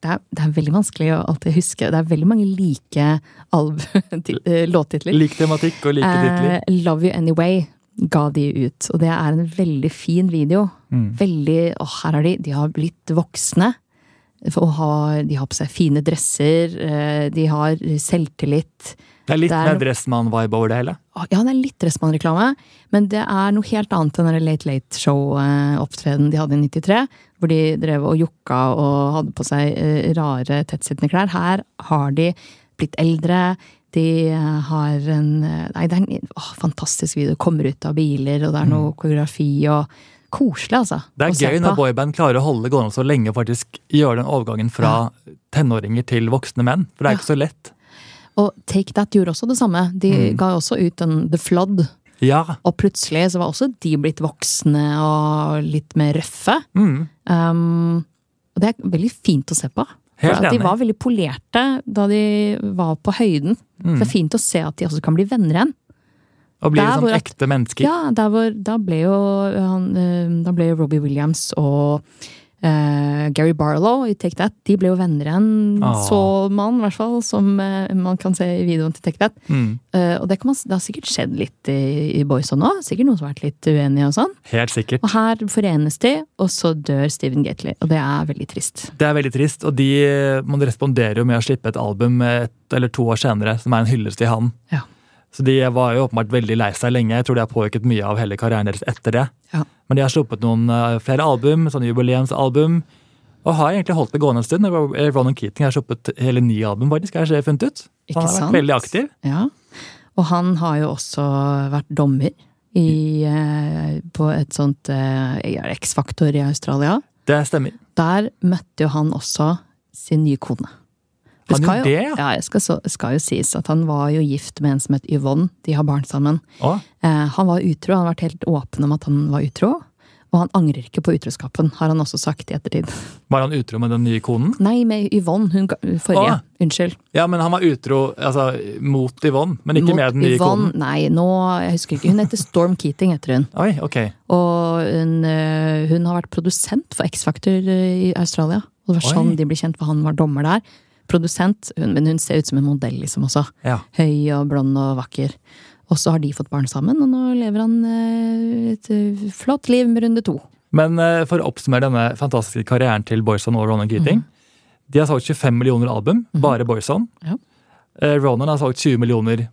S2: Det, er, det er veldig vanskelig å alltid huske. Det er veldig mange like alb- ti- eh, låttitler.
S1: Lik tematikk og like titler.
S2: Eh, Love You Anyway ga de ut, og det er en veldig fin video. Veldig, å, her er de, de har blitt voksne. Og har, de har på seg fine dresser, eh, de har selvtillit.
S1: Det er litt
S2: det er
S1: mer
S2: noe-
S1: Dressmann-vibe over det hele.
S2: Å, Ah, Ja, det er litt Dressmann-reklame, men det er noe helt annet enn den der Late Late Show-opptredenen de hadde i 93, hvor de drev og jokka og hadde på seg eh, rare, tettsittende klær. Her har de blitt eldre, de eh, har en eh, Nei, det er en å, fantastisk video. Kommer ut av biler, og det er noe koreografi og Koselig, altså.
S1: Mm. Det
S2: å se
S1: er gøy når
S2: på.
S1: boyband klarer å holde det gående så lenge og faktisk gjøre den overgangen fra tenåringer til voksne menn. For det er ikke så lett.
S2: Og Take That gjorde også det samme. De
S1: Mm.
S2: ga jo også ut den The Flood.
S1: Ja.
S2: Og plutselig så var også de blitt voksne og litt mer røffe.
S1: Mm.
S2: Ehm, Um, og det er veldig fint å se på.
S1: Helt
S2: for at de
S1: enig.
S2: var veldig polerte da de var på høyden. Så
S1: Mm.
S2: det er fint å se at de også kan bli venner igjen.
S1: Og blir
S2: der
S1: liksom
S2: hvor at-
S1: ekte mennesker.
S2: Ja, der hvor, da ble jo han, eh, da ble jo Robbie Williams og eh, Gary Barlow i Take That, de ble jo venner igjen,
S1: Åh.
S2: så man, i hvert fall, som eh, man kan se i videoen til Take That.
S1: Mm.
S2: Eh, og det, kan man, s- det har sikkert skjedd litt i, i Boys og nå. Sikkert noen som har vært litt uenige og sånn.
S1: Helt sikkert.
S2: Og her forenes de, og så dør Steven Gately. Og det er veldig trist.
S1: Det er veldig trist, og de, man responderer jo med å slippe et album et eller to år senere, som er en hyllest til han.
S2: Ja.
S1: Så de var jo åpenbart veldig lei seg lenge. Jeg tror det har påvirket mye av hele karrieren deres etter det.
S2: Ja.
S1: Men de har sluppet noen eh, flere album, sånne jubileumsalbum, og har egentlig holdt det gående en stund. Ro- eh, Ronan Keating har sluppet hele ni album, faktisk, har jeg funnet ut. Så
S2: Ikke
S1: han har
S2: sant?
S1: vært veldig aktiv.
S2: Ja. Og han har jo også vært dommer i, eh, på et sånt eh, ja, X-faktor i Australia.
S1: Det stemmer.
S2: Der møtte jo han også sin nye kone.
S1: Han
S2: skal
S1: gjorde
S2: jo,
S1: det, ja.
S2: Ja, det skal, så- skal jo sies at han var jo gift med en som het Yvonne. De har barn sammen.
S1: Å,
S2: Eh, han var utro, han har vært helt åpen om at han var utro. Og han angrer ikke på utroskapen, har han også sagt i ettertid.
S1: var han utro med den nye konen?
S2: Nei, med Yvonne, hun ga- forrige.
S1: Å.
S2: Unnskyld.
S1: Ja, men han var utro altså, mot Yvonne, men ikke
S2: Mot
S1: med den nye
S2: Yvonne,
S1: konen.
S2: nei, nå, jeg husker ikke. Hun heter Storm Keating, heter hun.
S1: Oi, ok.
S2: Og hun, eh, hun har vært produsent for X-Factor eh, i Australia. Og det var
S1: Oi.
S2: sånn de ble kjent, for han var dommer der. Produsent, hun, men hun ser ut som en modell liksom også.
S1: Ja.
S2: Høy og blond og vakker. Og så har de fått barn sammen, og nå lever han eh, et eh, flott liv med runde to.
S1: Men eh, for å oppsummere denne fantastiske karrieren til Boyson og Ronan
S2: Mhm.
S1: Keating.
S2: Mm.
S1: De har solgt 25 millioner album, bare Boyson.
S2: Ja.
S1: Eh, Ronan har solgt 20 millioner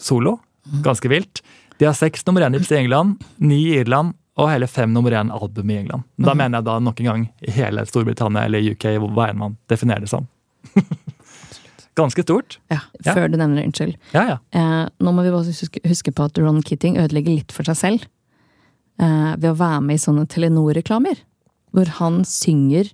S1: solo.
S2: Mhm.
S1: Ganske vilt. De har seks nummer én-hips i England, ni i Irland og hele fem nummer én-album i England. Da
S2: Mhm.
S1: mener jeg da nok en gang i hele Storbritannia eller UK, hvor- hva enn man definerer det som. Ganske stort. Ja.
S2: Før du nevner det, unnskyld.
S1: Ja, ja.
S2: Eh, nå må vi bare huske, huske på at Ron Keating ødelegger litt for seg selv eh, ved å være med i sånne Telenor-reklamer. Hvor han synger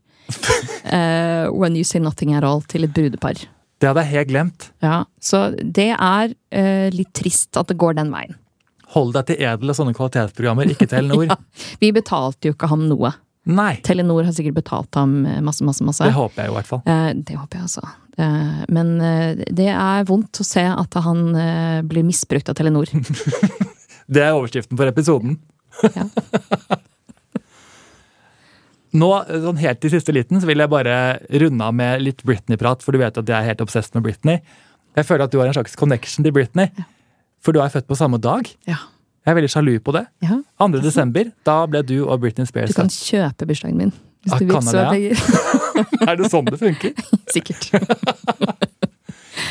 S2: eh, When You Say Nothing At All til et brudepar.
S1: Det hadde jeg helt glemt.
S2: Ja, Så det er eh, litt trist at det går den veien.
S1: Hold deg til edel og sånne kvalitetsprogrammer, ikke Telenor.
S2: Ja, vi betalte jo ikke ham noe.
S1: Nei!
S2: Telenor har sikkert betalt ham eh, masse, masse, masse.
S1: Det håper jeg i hvert fall.
S2: Eh, Det håper jeg altså. Eh, Men eh, det er vondt å se at han eh, blir misbrukt av Telenor.
S1: Det er overskriften for episoden.
S2: Ja.
S1: Nå, sånn Helt i siste liten så vil jeg bare runde av med litt Britney-prat, for du vet at jeg er helt obsessed med Britney. Jeg føler at du har en slags connection til Britney, for du er født på samme dag.
S2: Ja.
S1: Jeg er veldig sjalu på det.
S2: ja.
S1: 2. desember, da ble du og Britney Spears
S2: Du kan kjøpe bursdagen min. Hvis
S1: Ah,
S2: du
S1: kan
S2: vil,
S1: jeg
S2: så det,
S1: født. Er det sånn det funker?
S2: sikkert.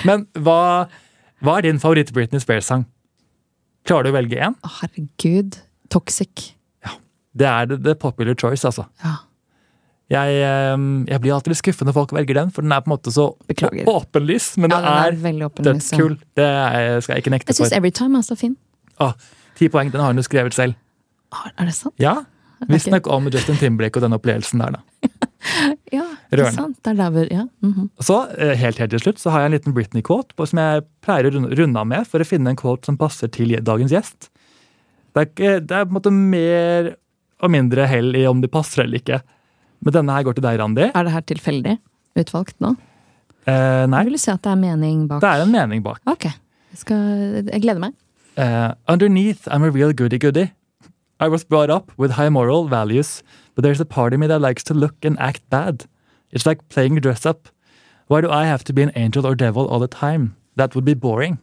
S1: Men hva, hva er din favoritt-Britney Spears-sang? Klarer du å velge én?
S2: Å, Herregud. Toxic.
S1: Det er the, the popular choice, altså.
S2: Ja.
S1: Jeg, eh, jeg blir alltid litt skuffet når folk velger den, for den er på en måte så
S2: Beklager.
S1: åpenlys, men
S2: ja,
S1: det
S2: den er,
S1: er
S2: veldig åpen. liksom.
S1: dødskul. Det er, skal jeg ikke nekte
S2: Jeg syns
S1: for.
S2: Everytime er så fin.
S1: Ah, Ti poeng, den har hun jo skrevet selv.
S2: Ah, Er det sant?
S1: Ja,
S2: er
S1: Visstnok om Justin Timberlake og den opplevelsen der, da.
S2: Ja,
S1: Rørende.
S2: ikke sant? Det er der hvor ja. mhm.
S1: Så, eh, helt helt til slutt, så har jeg en liten Britney-quote på- som jeg pleier å runde- runde av med for å finne en quote som passer til dagens gjest. Det er, ikke, det er på en måte mer og mindre hell i om de passer eller ikke. Men denne her går til deg, Randi.
S2: Er det her tilfeldig utvalgt nå?
S1: Eh,
S2: Jeg
S1: nei,
S2: vil si at det er mening bak.
S1: det er en mening bak.
S2: Ok. Jeg, skal, jeg gleder meg.
S1: Uh, underneath, I'm a real goody goody. I was brought up with high moral values, but there's a part of me that likes to look and act bad. It's like playing dress up. Why do I have to be an angel or devil all the time? That would be boring.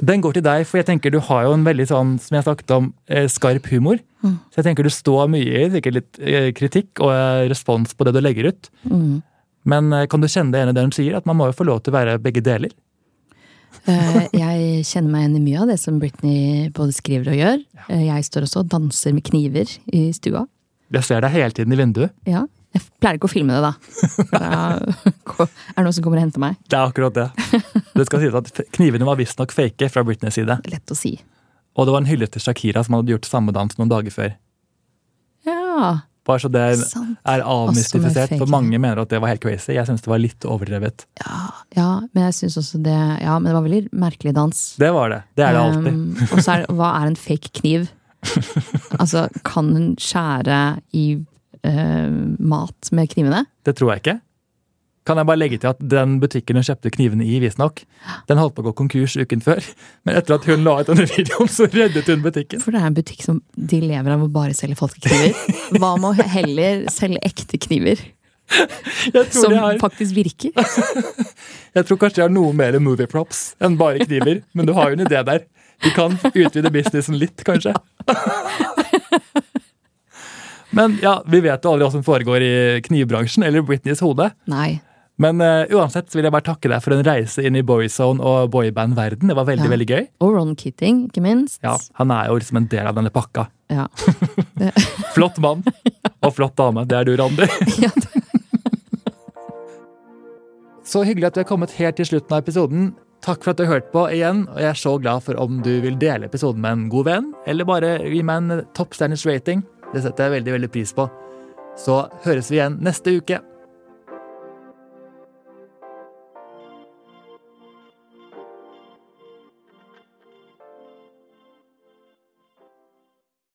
S1: Den går til deg, for jeg tenker du har jo en veldig sånn, som jeg snakket om, eh, skarp humor. Så jeg tenker du står mye i sikkert litt eh, kritikk og eh, respons på det du legger ut.
S2: Mhm.
S1: Men eh, kan du kjenne deg igjen i det hun sier, at man må jo få lov til å være begge deler?
S2: Eh, Jeg kjenner meg igjen i mye av det som Britney både skriver og gjør. Eh, Jeg står også og danser med kniver i stua.
S1: Jeg ser deg hele tiden i vinduet.
S2: Ja. Jeg pleier ikke å filme det, da. Da ko- er det noen som kommer og henter meg.
S1: Det er akkurat det. Det skal sies at Knivene var visstnok fake fra Britneys side.
S2: Lett å si.
S1: Og det var en hyllest til Shakira som hadde gjort samme dans noen dager før.
S2: Ja,
S1: Bare så det
S2: sant.
S1: er avmystifisert,
S2: fake.
S1: for mange mener at det var helt crazy. Jeg syns det var litt overdrevet.
S2: Ja, men jeg synes også det Ja, men det var veldig merkelig dans.
S1: Det var det. Det er det alltid.
S2: Um, og så er det Hva er en fake kniv? altså, kan hun skjære i eh, mat med knivene?
S1: Det tror jeg ikke. Kan jeg bare legge til at Den butikken hun kjøpte knivene i, visstnok, den holdt på å gå konkurs uken før. Men etter at hun la ut denne videoen, så reddet hun butikken.
S2: For det er en butikk som de lever av å bare selge folkekniver. Hva med å heller selge ekte kniver?
S1: Jeg tror,
S2: Som
S1: det er,
S2: faktisk virker.
S1: jeg tror kanskje det er noe mer movie props enn bare kniver, men du har jo en idé der. De kan utvide businessen litt, kanskje. Men ja, vi vet jo aldri hva som foregår i knivbransjen eller Britneys hode.
S2: Nei.
S1: Men eh, uansett så vil jeg bare takke deg for en reise inn i boyzone og boyband-verden. Det var veldig,
S2: Ja.
S1: veldig gøy.
S2: Og Ron Kitting, ikke minst.
S1: Ja, Han er jo liksom en del av denne pakka.
S2: Ja.
S1: Flott mann og flott dame. Det er du, Randi.
S2: Ja, det-
S1: Så hyggelig at du er kommet helt til slutten av episoden. Takk for at du har hørt på igjen, og jeg er så glad for om du vil dele episoden med en god venn, eller bare gi meg en toppstjerners rating. Det setter jeg veldig, veldig pris på. Så høres vi igjen neste uke.